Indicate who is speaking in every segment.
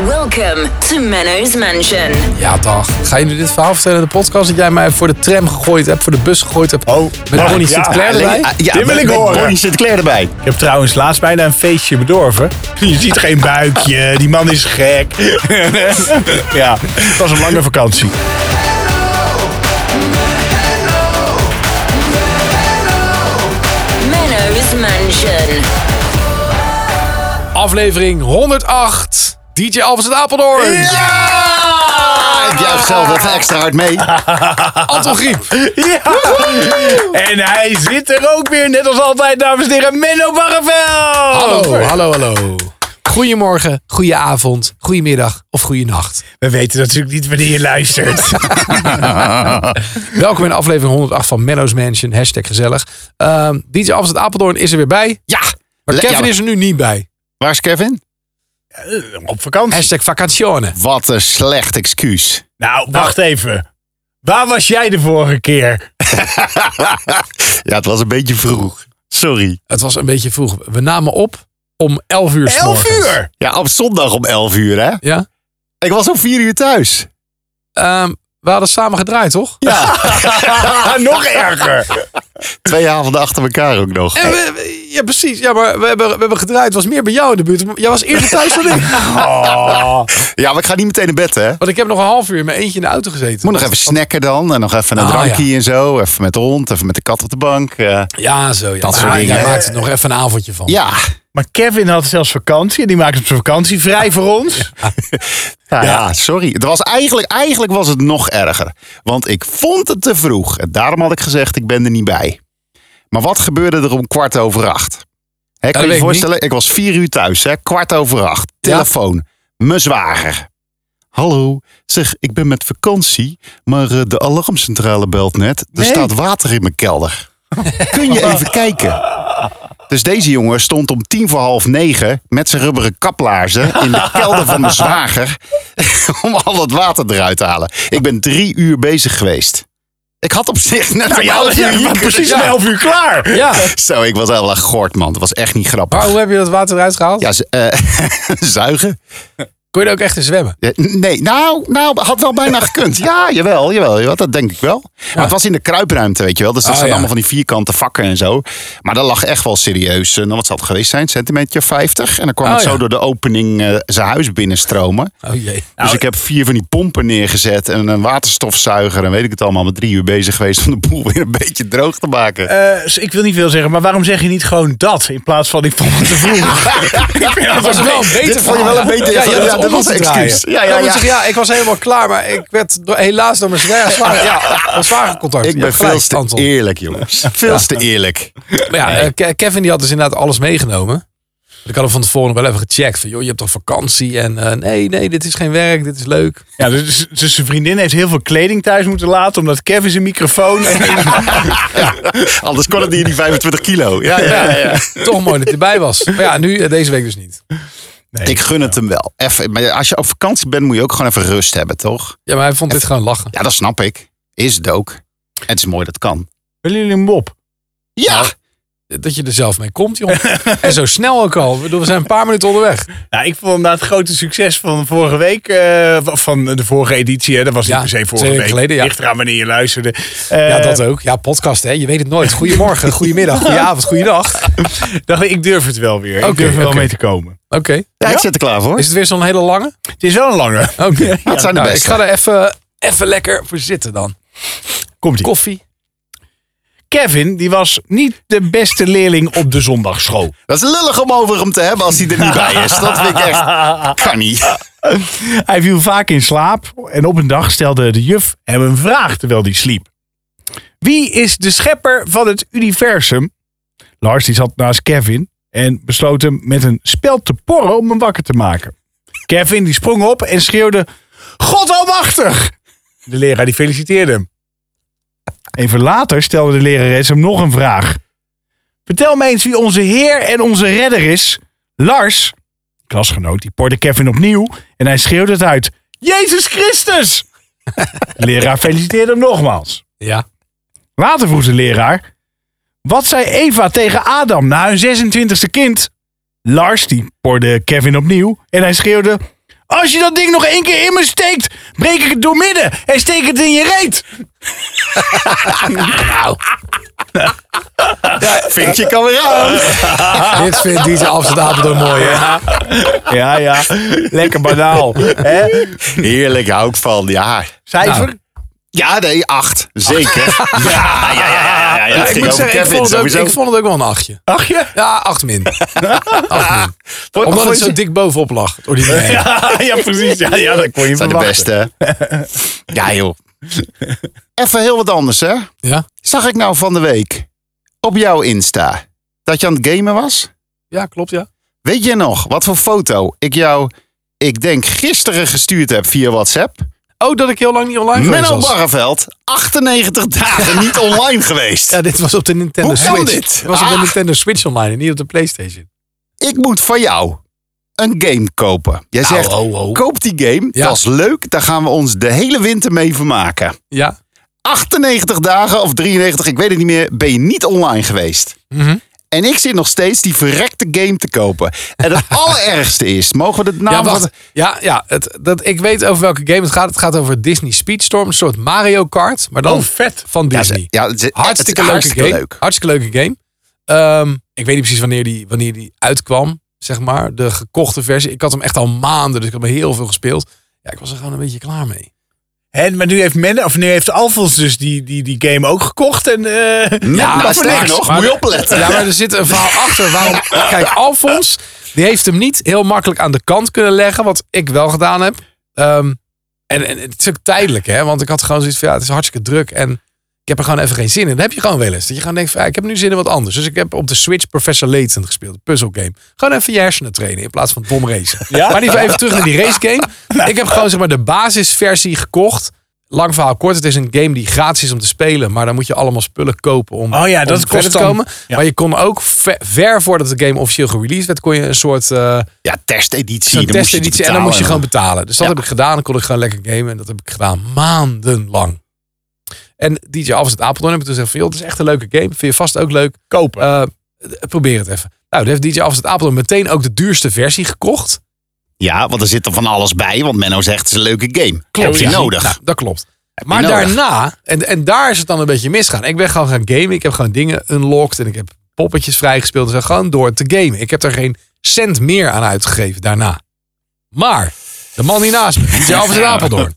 Speaker 1: Welcome to Menno's Mansion.
Speaker 2: Ja, dag. Ga je nu dit verhaal vertellen in de podcast dat jij mij voor de tram gegooid hebt, voor de bus gegooid hebt?
Speaker 3: Oh,
Speaker 2: met
Speaker 3: ja,
Speaker 2: Bonnie
Speaker 3: ja,
Speaker 2: Sinclair
Speaker 3: alleen-
Speaker 2: erbij?
Speaker 3: ah, ja,
Speaker 4: Dit wil
Speaker 3: met-
Speaker 4: ik
Speaker 3: met
Speaker 4: horen.
Speaker 3: Bonnie Sinclair erbij.
Speaker 4: Ik heb trouwens laatst bijna een feestje bedorven. Je ziet geen buikje, die man is gek. ja, het was een lange vakantie.
Speaker 1: Menno's Mansion.
Speaker 2: Aflevering 108. DJ Alves uit Apeldoorn.
Speaker 3: Ja!
Speaker 2: Ja!
Speaker 3: Ik juich zelf even extra hard mee.
Speaker 2: Anton Griep.
Speaker 4: Ja. En hij zit er ook weer, net als altijd, dames en heren, Menno Barrevel.
Speaker 2: Hallo, hallo, hallo. Goedemorgen, goede avond, goedemiddag of nacht.
Speaker 4: We weten natuurlijk niet wanneer je luistert. Eh,
Speaker 2: Welkom in aflevering 108 van Menno's Mansion. Hashtag gezellig. Ehm DJ Alves uit Apeldoorn is er weer bij.
Speaker 3: Ja!
Speaker 2: Maar
Speaker 3: Le-
Speaker 2: Kevin
Speaker 3: ja,
Speaker 2: is er nu niet bij.
Speaker 3: Waar is Kevin?
Speaker 4: Op vakantie.
Speaker 2: Hashtag vacantione.
Speaker 3: Wat een slecht excuus.
Speaker 4: Nou, wacht even. Waar was jij de vorige keer?
Speaker 3: ja, het was een beetje vroeg. Sorry.
Speaker 2: Het was een beetje vroeg. We namen op om 11 uur. 's
Speaker 4: Elf
Speaker 2: morgens.
Speaker 4: uur.
Speaker 3: Ja, op zondag om 11 uur, hè?
Speaker 2: Ja.
Speaker 3: Ik was om 4 uur thuis.
Speaker 2: Ehm, we hadden samen gedraaid, toch?
Speaker 4: Ah, nog erger.
Speaker 3: Twee avonden achter elkaar ook nog.
Speaker 2: En we- we- ja, precies. Ja, maar we hebben, we hebben gedraaid. Het was meer bij jou in de buurt. Jij was eerder thuis dan ik.
Speaker 4: Oh.
Speaker 3: Ja, maar ik ga niet meteen naar bed, hè? Ik
Speaker 2: Want ik heb nog een half uur in mijn eentje in de auto gezeten.
Speaker 3: moet nog even snacken dan. En nog even een
Speaker 2: Ah,
Speaker 3: drankje en zo. Even met de hond, even met de kat op de bank. eh.
Speaker 2: Ja, zo. Ja.
Speaker 3: Dat soort
Speaker 2: Ah,
Speaker 3: dingen.
Speaker 2: Jij maakt er nog even een avondje van.
Speaker 3: ja.
Speaker 4: Maar Kevin had zelfs vakantie en die maakte op zijn vakantie vrij voor ons.
Speaker 3: Nou ja, sorry. Het was eigenlijk, eigenlijk was het nog erger. Want ik vond het te vroeg. En daarom had ik gezegd, ik ben er niet bij. Maar wat gebeurde er om kwart over acht?
Speaker 2: Dat
Speaker 3: Hè, kan je
Speaker 2: weet
Speaker 3: je
Speaker 2: ik
Speaker 3: voorstellen? Ik was vier uur thuis, hè? kwart over acht.
Speaker 2: Ja.
Speaker 3: Telefoon. Mijn zwager. Hallo, zeg, ik ben met vakantie, maar eh, de alarmcentrale belt net. Er staat water in mijn kelder. Kun je even kijken? Dus deze jongen stond om tien voor half negen met zijn rubberen kaplaarzen in de kelder van mijn zwager om al dat water eruit te halen. Ik ben drie uur bezig geweest. Ik had op zich net een half uur hier kunnen
Speaker 4: precies om
Speaker 3: zijn.
Speaker 4: elf uur klaar.
Speaker 2: Ja.
Speaker 3: Zo, ik was heel erg gort, man. Dat was echt niet
Speaker 2: Maar
Speaker 3: grappig.
Speaker 2: hoe heb je dat water eruit gehaald?
Speaker 3: Ja, ze- eh, zuigen.
Speaker 2: Kon je er ook echt in zwemmen?
Speaker 3: Eh, Nee, nou, nou, had wel bijna gekund. Ja, jawel, jawel, jawel, dat denk ik wel. Maar het was in de kruipruimte, weet je wel. Dus dat
Speaker 2: Ah,
Speaker 3: zijn
Speaker 2: ja.
Speaker 3: allemaal van die vierkante vakken en zo. Maar dat lag echt wel serieus. eh, Nou, wat zal het geweest zijn? Centimeter of 50. En dan kwam
Speaker 2: Ah,
Speaker 3: het
Speaker 2: ja.
Speaker 3: zo door de opening eh, zijn huis binnenstromen.
Speaker 2: Oh jee.
Speaker 3: dus ik heb vier van die pompen neergezet en een waterstofzuiger en weet ik het allemaal. Met drie uur bezig geweest om de boel weer een beetje droog te maken.
Speaker 4: Eh, dus ik wil niet veel zeggen, maar waarom zeg je niet gewoon dat in plaats van ik vond het te vroeg? Ik
Speaker 2: Dat
Speaker 4: vind dat wel-
Speaker 2: was wel een beter
Speaker 3: dit vond je wel een
Speaker 2: verhaal,
Speaker 3: beter-
Speaker 2: ja,
Speaker 3: ja,
Speaker 2: ja,
Speaker 3: dat was een excuus. Ja,
Speaker 2: Ja,
Speaker 3: ja,
Speaker 2: ja,
Speaker 3: ja.
Speaker 2: ja. ja, ik was helemaal klaar, maar ik werd door- helaas door mijn zwaar- zwaar- ja, mijn zwager contact.
Speaker 3: ik
Speaker 2: Ja,
Speaker 3: ben
Speaker 2: gelijk,
Speaker 3: veel te
Speaker 2: Anton.
Speaker 3: eerlijk, jongens. Veel te eerlijk.
Speaker 2: Maar ja, eh, Ke- Kevin die had dus inderdaad alles meegenomen. Ik had hem van tevoren nog wel even gecheckt. Van, joh, je hebt toch vakantie? En eh, nee, nee, dit is geen werk, dit is leuk.
Speaker 4: Ja, dus, dus zijn vriendin heeft heel veel kleding thuis moeten laten omdat Kevin zijn microfoon.
Speaker 3: Anders kon het niet in die 25 kilo.
Speaker 2: Ah,
Speaker 3: Ja, ja, ja. ja.
Speaker 2: Toch mooi dat hij erbij was. Maar ja, nu, eh, deze week dus niet.
Speaker 3: Ik gun het hem wel. Even, maar als je op vakantie bent, moet je ook gewoon even rust hebben, toch?
Speaker 2: Ja, maar hij vond dit gewoon lachen.
Speaker 3: Ja, dat snap ik. Is het ook. En het is mooi dat het kan. Nou,
Speaker 4: Willen jullie een mop?
Speaker 3: Ja!
Speaker 2: Dat je er zelf mee komt, joh. En zo snel ook al. Ik bedoel, We zijn een paar minuten onderweg.
Speaker 4: Nou, ik vond inderdaad het grote succes van vorige week, eh, van de vorige editie. Hè. Dat was niet
Speaker 2: Ja,
Speaker 4: per se vorige
Speaker 2: twee
Speaker 4: week.
Speaker 2: weken geleden, ja.
Speaker 4: Ligt eraan wanneer je luisterde.
Speaker 2: Ja,
Speaker 4: Eh,
Speaker 2: dat ook. Ja, podcast, hè. Je weet het nooit. Goedemorgen, goedemiddag, goedenavond, goeiedag. Oké,
Speaker 4: dacht ik, ik durf het wel weer.
Speaker 2: Oké,
Speaker 4: ik durf er wel
Speaker 2: oké.
Speaker 4: mee te komen.
Speaker 3: Ja, ik zit er klaar voor.
Speaker 2: is het weer zo'n hele lange?
Speaker 4: Het is wel een lange.
Speaker 2: Oké.
Speaker 3: dat zijn de
Speaker 2: Nou, ik
Speaker 3: beste.
Speaker 2: ga er even, even lekker voor zitten dan.
Speaker 4: Komt-ie.
Speaker 2: Koffie.
Speaker 4: Kevin, die was niet de beste leerling op de zondagschool.
Speaker 3: Dat is lullig om over hem te hebben als hij er niet bij is. Dat vind ik echt... Kan niet.
Speaker 4: Hij viel vaak in slaap en op een dag stelde de juf hem een vraag terwijl hij sliep. Wie is de schepper van het universum? Lars die zat naast Kevin en besloot hem met een speld te porren om hem wakker te maken. Kevin die sprong op en schreeuwde God almachtig! De leraar die feliciteerde hem. Even later stelde de lerares hem nog een vraag. Vertel mij eens wie onze heer en onze redder is. Lars, klasgenoot, die porde Kevin opnieuw en hij schreeuwde het uit. Jezus Christus! De leraar feliciteerde hem nogmaals.
Speaker 2: Ja.
Speaker 4: Later vroeg de leraar, wat zei Eva tegen Adam na hun 26e kind? Lars, die porde Kevin opnieuw en hij schreeuwde, Als je dat ding nog één keer in me steekt, breek ik het doormidden en steek het in je reet.
Speaker 3: Vind je kan weer aan.
Speaker 2: Dit vindt DJ Amsterdam Apeldoorn mooi, hè?
Speaker 4: Ja, ja. Lekker banaal. Hè? Nou.
Speaker 3: Heerlijk, hou ik van. Ja,
Speaker 4: Cijfer?
Speaker 3: ja nee, acht. Zeker. Ah, Ja, ja, ja. ja, ja, ja. Het
Speaker 2: ik,
Speaker 3: ging
Speaker 2: moet
Speaker 3: over
Speaker 2: zeggen, ik,
Speaker 3: Kevin
Speaker 2: vond het ook,
Speaker 3: sowieso.
Speaker 2: ik vond het ook wel een achtje.
Speaker 4: Ach je?
Speaker 2: Ja, acht min. Acht min. Omdat het zo dik bovenop lag. het ordinaire.
Speaker 4: Ja, ja, precies. Ja, ja, dat kon je
Speaker 3: zijn de
Speaker 4: verwachten.
Speaker 3: beste. Ja, joh. Even heel wat anders, hè.
Speaker 2: Ja?
Speaker 3: Zag ik nou van de week op jouw Insta dat je aan het gamen was?
Speaker 2: ja, klopt, ja.
Speaker 3: Weet je nog wat voor foto ik jou, ik denk gisteren gestuurd heb via WhatsApp?
Speaker 2: Oh, dat ik heel lang niet online geweest
Speaker 3: Menno
Speaker 2: was.
Speaker 3: Barreveld, 98 dagen niet online geweest.
Speaker 2: Ja, dit was op de Nintendo
Speaker 3: Hoe kan
Speaker 2: Switch.
Speaker 3: dit?
Speaker 2: was op de
Speaker 3: Ah.
Speaker 2: Nintendo Switch online en niet op de PlayStation.
Speaker 3: Ik moet van jou een game kopen. Jij
Speaker 2: Nou,
Speaker 3: zegt,
Speaker 2: ho, ho.
Speaker 3: koop die game,
Speaker 2: Ja.
Speaker 3: dat is leuk, daar gaan we ons de hele winter mee vermaken.
Speaker 2: Ja.
Speaker 3: 98 dagen of 93, ik weet het niet meer, ben je niet online geweest.
Speaker 2: Mhm.
Speaker 3: En ik zit nog steeds die verrekte game te kopen. En het allerergste is, mogen we de naam
Speaker 2: Ja,
Speaker 3: van
Speaker 2: Nou, wacht. Ja, ja het, dat, ik weet over welke game het gaat. Het gaat over Disney Speedstorm. Een soort Mario Kart. Maar dan Oh, vet. van
Speaker 3: Ja,
Speaker 2: Disney.
Speaker 3: ze- ja, het is-
Speaker 2: hartstikke
Speaker 3: het
Speaker 2: leuke
Speaker 3: is hartstikke
Speaker 2: game.
Speaker 3: leuk.
Speaker 2: Hartstikke leuke game. Ehm, ik weet niet precies wanneer die, wanneer die uitkwam, zeg maar. De gekochte versie. Ik had hem echt al maanden, dus ik heb er heel veel gespeeld. Ja, ik was er gewoon een beetje klaar mee.
Speaker 4: Hè, maar nu heeft men, of nu heeft Alfons dus die, die, die game ook gekocht. En, eh,
Speaker 3: Ja,
Speaker 2: maar
Speaker 3: maar sterker
Speaker 2: straks,
Speaker 3: nog,
Speaker 2: maar-
Speaker 3: moet je opletten.
Speaker 2: Ja, maar er zit een verhaal achter. Waarom? Kijk, Alfons, die heeft hem niet heel makkelijk aan de kant kunnen leggen. Wat ik wel gedaan heb. Ehm, en, en het is ook tijdelijk, hè. Want ik had gewoon zoiets van, ja, het is hartstikke druk. En ik heb er gewoon even geen zin in. Dat heb je gewoon wel eens. Dat je gewoon denkt van, ja, ik heb nu zin in wat anders. Dus ik heb op de Switch Professor Layton gespeeld. Een puzzelgame. Gewoon even je hersenen trainen in plaats van dom racen. Maar niet even terug naar die racegame. Ik heb gewoon zeg maar de basisversie gekocht. Lang verhaal kort. Het is een game die gratis is om te spelen. Maar dan moet je allemaal spullen kopen om,
Speaker 4: Oh ja,
Speaker 2: om
Speaker 4: dat
Speaker 2: verder
Speaker 4: kost
Speaker 2: te
Speaker 4: dan-
Speaker 2: komen.
Speaker 4: ja.
Speaker 2: Maar je kon ook ver, ver voordat de game officieel gereleased werd, kon je een soort eh,
Speaker 3: Ja, testeditie.
Speaker 2: zo'n
Speaker 3: dan moest je die
Speaker 2: testeditie en dan
Speaker 3: betalen.
Speaker 2: moest je gewoon betalen. Dus dat
Speaker 3: Ja.
Speaker 2: heb ik gedaan. Dan kon ik gewoon lekker gamen. En dat heb ik gedaan maandenlang. En DJ Alves uit Apeldoorn heb ik toen gezegd van... joh, het is echt een leuke game. Vind je vast ook leuk. Kopen. probeer het even. Nou, dan heeft DJ Alves uit Apeldoorn meteen ook de duurste versie gekocht.
Speaker 3: Ja, want er zit er van alles bij. Want Menno zegt, het is een leuke game. Klopt, je
Speaker 2: Ja,
Speaker 3: nodig.
Speaker 2: nou, dat klopt.
Speaker 3: Heb je
Speaker 2: Maar
Speaker 3: nodig.
Speaker 2: daarna, en, en daar is het dan een beetje misgaan. Ik ben gewoon gaan gamen. Ik heb gewoon dingen unlocked. En ik heb poppetjes vrijgespeeld. Dus gewoon door te gamen. Ik heb er geen cent meer aan uitgegeven daarna. Maar, de man die naast me, DJ Alves uit Apeldoorn.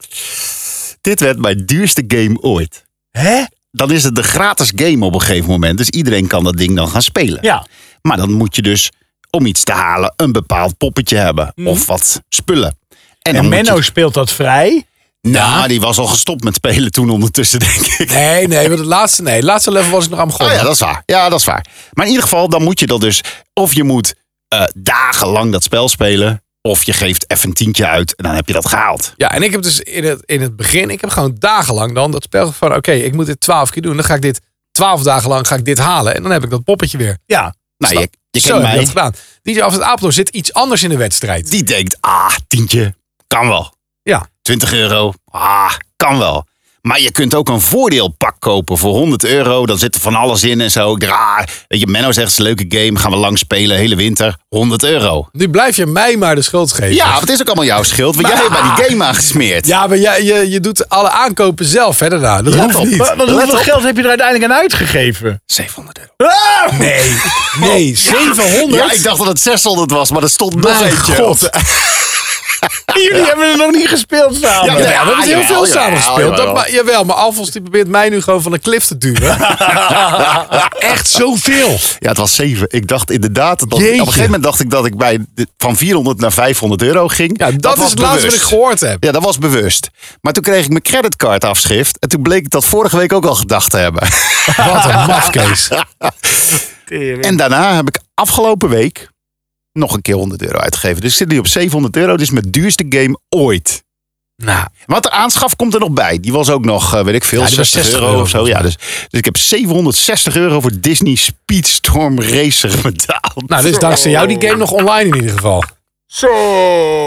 Speaker 3: Dit werd mijn duurste game ooit.
Speaker 4: hè?
Speaker 3: Dan is het de gratis game op een gegeven moment. Dus iedereen kan dat ding dan gaan spelen.
Speaker 4: Ja.
Speaker 3: Maar dan moet je dus, om iets te halen, een bepaald poppetje hebben. Of wat spullen. dan
Speaker 4: En
Speaker 3: moet
Speaker 4: Menno
Speaker 3: je-
Speaker 4: speelt dat vrij.
Speaker 3: Nou, die was al gestopt met spelen toen ondertussen, denk ik.
Speaker 2: Nee, nee, want het laatste, nee, het laatste level was ik nog aan
Speaker 3: Oh
Speaker 2: begonnen.
Speaker 3: ja, dat is waar. Ja, dat is waar. Maar in ieder geval, dan moet je dat dus... Of je moet eh, dagenlang dat spel spelen... Of je geeft even een tientje uit en dan heb je dat gehaald.
Speaker 2: Ja, en ik heb dus in het, in het begin, ik heb gewoon dagenlang dan dat spel van, oké, ik moet dit twaalf keer doen. Dan ga ik dit twaalf dagen lang ga ik dit halen en dan heb ik dat poppetje weer.
Speaker 4: Ja.
Speaker 3: Nou, je, je
Speaker 2: Zo
Speaker 3: kent
Speaker 2: heb ik
Speaker 3: mij.
Speaker 2: dat gedaan. DJ af het Apeldoorn zit iets anders in de wedstrijd.
Speaker 3: Die denkt, ah, tientje, kan wel.
Speaker 2: Ja.
Speaker 3: 20 euro, ah, kan wel. Maar je kunt ook een voordeelpak kopen voor 100 euro. Dan zit er van alles in en zo. Ik dacht, ah, weet je, Menno zegt, het is een leuke game. Gaan we lang spelen, hele winter. 100 euro.
Speaker 2: Nu blijf je mij maar de schuld geven.
Speaker 3: Ja, maar het is ook allemaal jouw schuld. Want jij hebt bij die game aangesmeerd.
Speaker 2: Ja, maar jij, je, je doet alle aankopen zelf hè, daarna. Dat hoeft
Speaker 3: op.
Speaker 2: niet.
Speaker 4: Wa- Want hoeveel
Speaker 3: op.
Speaker 4: geld heb je er uiteindelijk aan uitgegeven?
Speaker 3: 700 euro.
Speaker 4: Ah!
Speaker 2: Nee, nee, 700?
Speaker 3: Ja, ik dacht dat het 600 was, maar er stond nog
Speaker 2: Mijn
Speaker 3: eentje.
Speaker 2: god.
Speaker 4: Jullie hebben er nog niet gespeeld samen.
Speaker 2: Ja,
Speaker 3: Ja, nee.
Speaker 2: we hebben heel
Speaker 3: jawel,
Speaker 2: veel
Speaker 3: jawel,
Speaker 2: samen gespeeld. Dat
Speaker 3: jawel.
Speaker 2: ma- Jawel, maar Alfons die probeert mij nu gewoon van de klif te duwen. Echt zoveel.
Speaker 3: Ja, het was 7. Ik dacht inderdaad... Dat, op een
Speaker 2: Jeetje.
Speaker 3: gegeven moment dacht ik dat ik bij de- van 400 naar 500 euro ging.
Speaker 2: Ja, dat,
Speaker 3: was
Speaker 2: is het laatste wat ik
Speaker 3: bewust.
Speaker 2: gehoord heb.
Speaker 3: Ja, dat was bewust. Maar toen kreeg ik mijn creditcardafschrift. En toen bleek ik dat vorige week ook al gedacht te hebben.
Speaker 2: Wat een mafkees.
Speaker 3: Nou, En daarna heb ik afgelopen week nog een keer 100 euro uitgegeven. Dus ik zit nu op 700 euro. Dit is mijn duurste game ooit.
Speaker 2: Nou,
Speaker 3: Want de aanschaf komt er nog bij. Die was ook nog, eh, weet ik veel,
Speaker 2: Ja, die was
Speaker 3: 60,
Speaker 2: 60
Speaker 3: euro,
Speaker 2: euro
Speaker 3: of zo.
Speaker 2: volgens
Speaker 3: Ja,
Speaker 2: mij.
Speaker 3: dus, dus ik heb 760 euro voor Disney Speedstorm Racer betaald.
Speaker 2: nou, dus dankzij jou die game nog online in ieder geval.
Speaker 4: Zo.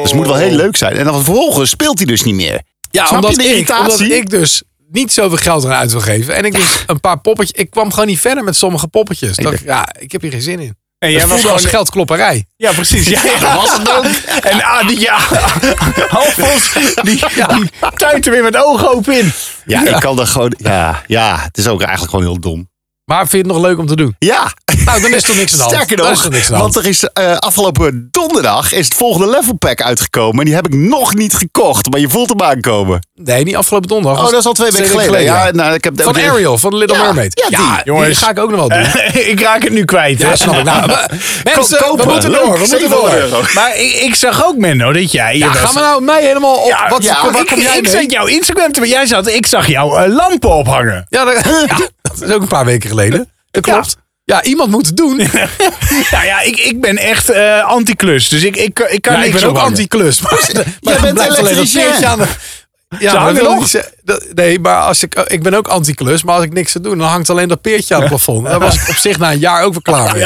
Speaker 3: Dus het moet wel heel leuk zijn. En dan vervolgens speelt hij dus niet meer.
Speaker 2: Ja,
Speaker 3: Snap
Speaker 2: omdat,
Speaker 3: je de
Speaker 2: ik, omdat
Speaker 3: irritatie?
Speaker 2: ik dus niet zoveel geld eraan uit wil geven. En ik dus een paar poppetjes... Ik kwam gewoon niet verder met sommige poppetjes. Dacht ik, ja, ik heb hier geen zin in.
Speaker 4: En
Speaker 2: Dat
Speaker 4: jij was
Speaker 2: voelde
Speaker 4: gewoon...
Speaker 2: als geldklopperij.
Speaker 4: Ja, precies. Ja,
Speaker 3: dat was het ook.
Speaker 4: En ah, die, ja, Alfons, die, die tuint er weer met ogen open in.
Speaker 3: Ja, ik kan daar gewoon... Ja, ja, het is ook eigenlijk gewoon heel dom.
Speaker 2: Maar vind je het nog leuk om te doen?
Speaker 3: Ja,
Speaker 2: Nou, dan is toch niks aan de hand.
Speaker 3: sterker
Speaker 2: Dan is
Speaker 3: nog,
Speaker 2: toch niks aan de hand.
Speaker 3: want er is eh, afgelopen donderdag is het volgende level pack uitgekomen. En die heb ik nog niet gekocht, maar je voelt hem aankomen.
Speaker 2: Nee, niet afgelopen donderdag.
Speaker 3: Oh, dat is al twee weken geleden. Ja,
Speaker 2: ja.
Speaker 3: nou, ik heb
Speaker 2: Van
Speaker 3: ook-
Speaker 2: Ariel, van Little
Speaker 3: Ja,
Speaker 2: Mermaid.
Speaker 3: ja, die.
Speaker 2: die
Speaker 4: Jongens.
Speaker 2: ga ik ook nog wel doen.
Speaker 4: ik raak het nu kwijt.
Speaker 2: Ja,
Speaker 4: hè.
Speaker 2: snap ik. Nou, maar- mensen,
Speaker 3: kopen.
Speaker 2: we moeten door. We
Speaker 3: Leuk,
Speaker 2: moeten
Speaker 3: 7
Speaker 2: door.
Speaker 3: euro.
Speaker 4: Maar ik, ik zag ook, Menno, dat jij... je
Speaker 2: Ja,
Speaker 4: was-
Speaker 2: gaan we nou mij helemaal op?
Speaker 4: Ja,
Speaker 2: wat,
Speaker 3: ja,
Speaker 2: waar
Speaker 3: ik-
Speaker 2: kom
Speaker 4: ik,
Speaker 2: jij
Speaker 4: ik
Speaker 2: mee?
Speaker 4: zat jouw Instagram te... Jij zat, ik zag jouw eh, lampen ophangen.
Speaker 2: Ja, dat, ja, dat is ook een paar weken geleden. Dat klopt. Ja, iemand moet het doen. Ja,
Speaker 4: Nou ja, ik, ik ben echt eh anti-klus. Dus ik, ik, ik kan
Speaker 2: ik
Speaker 4: niks
Speaker 2: ben ook
Speaker 4: ophangen.
Speaker 2: anti-klus. Maar, maar
Speaker 3: bent
Speaker 2: dan blijft alleen dat
Speaker 3: elektricien.
Speaker 2: veertje aan de... Ja, maar
Speaker 4: hangen
Speaker 2: dat wil
Speaker 4: nog.
Speaker 2: niet zeggen- dat- nee, maar als ik, eh, ik ben ook anti-klus. Maar als ik niks te doen, dan hangt alleen dat peertje aan het plafond. Daar was ik op zich na een jaar ook weer klaar mee.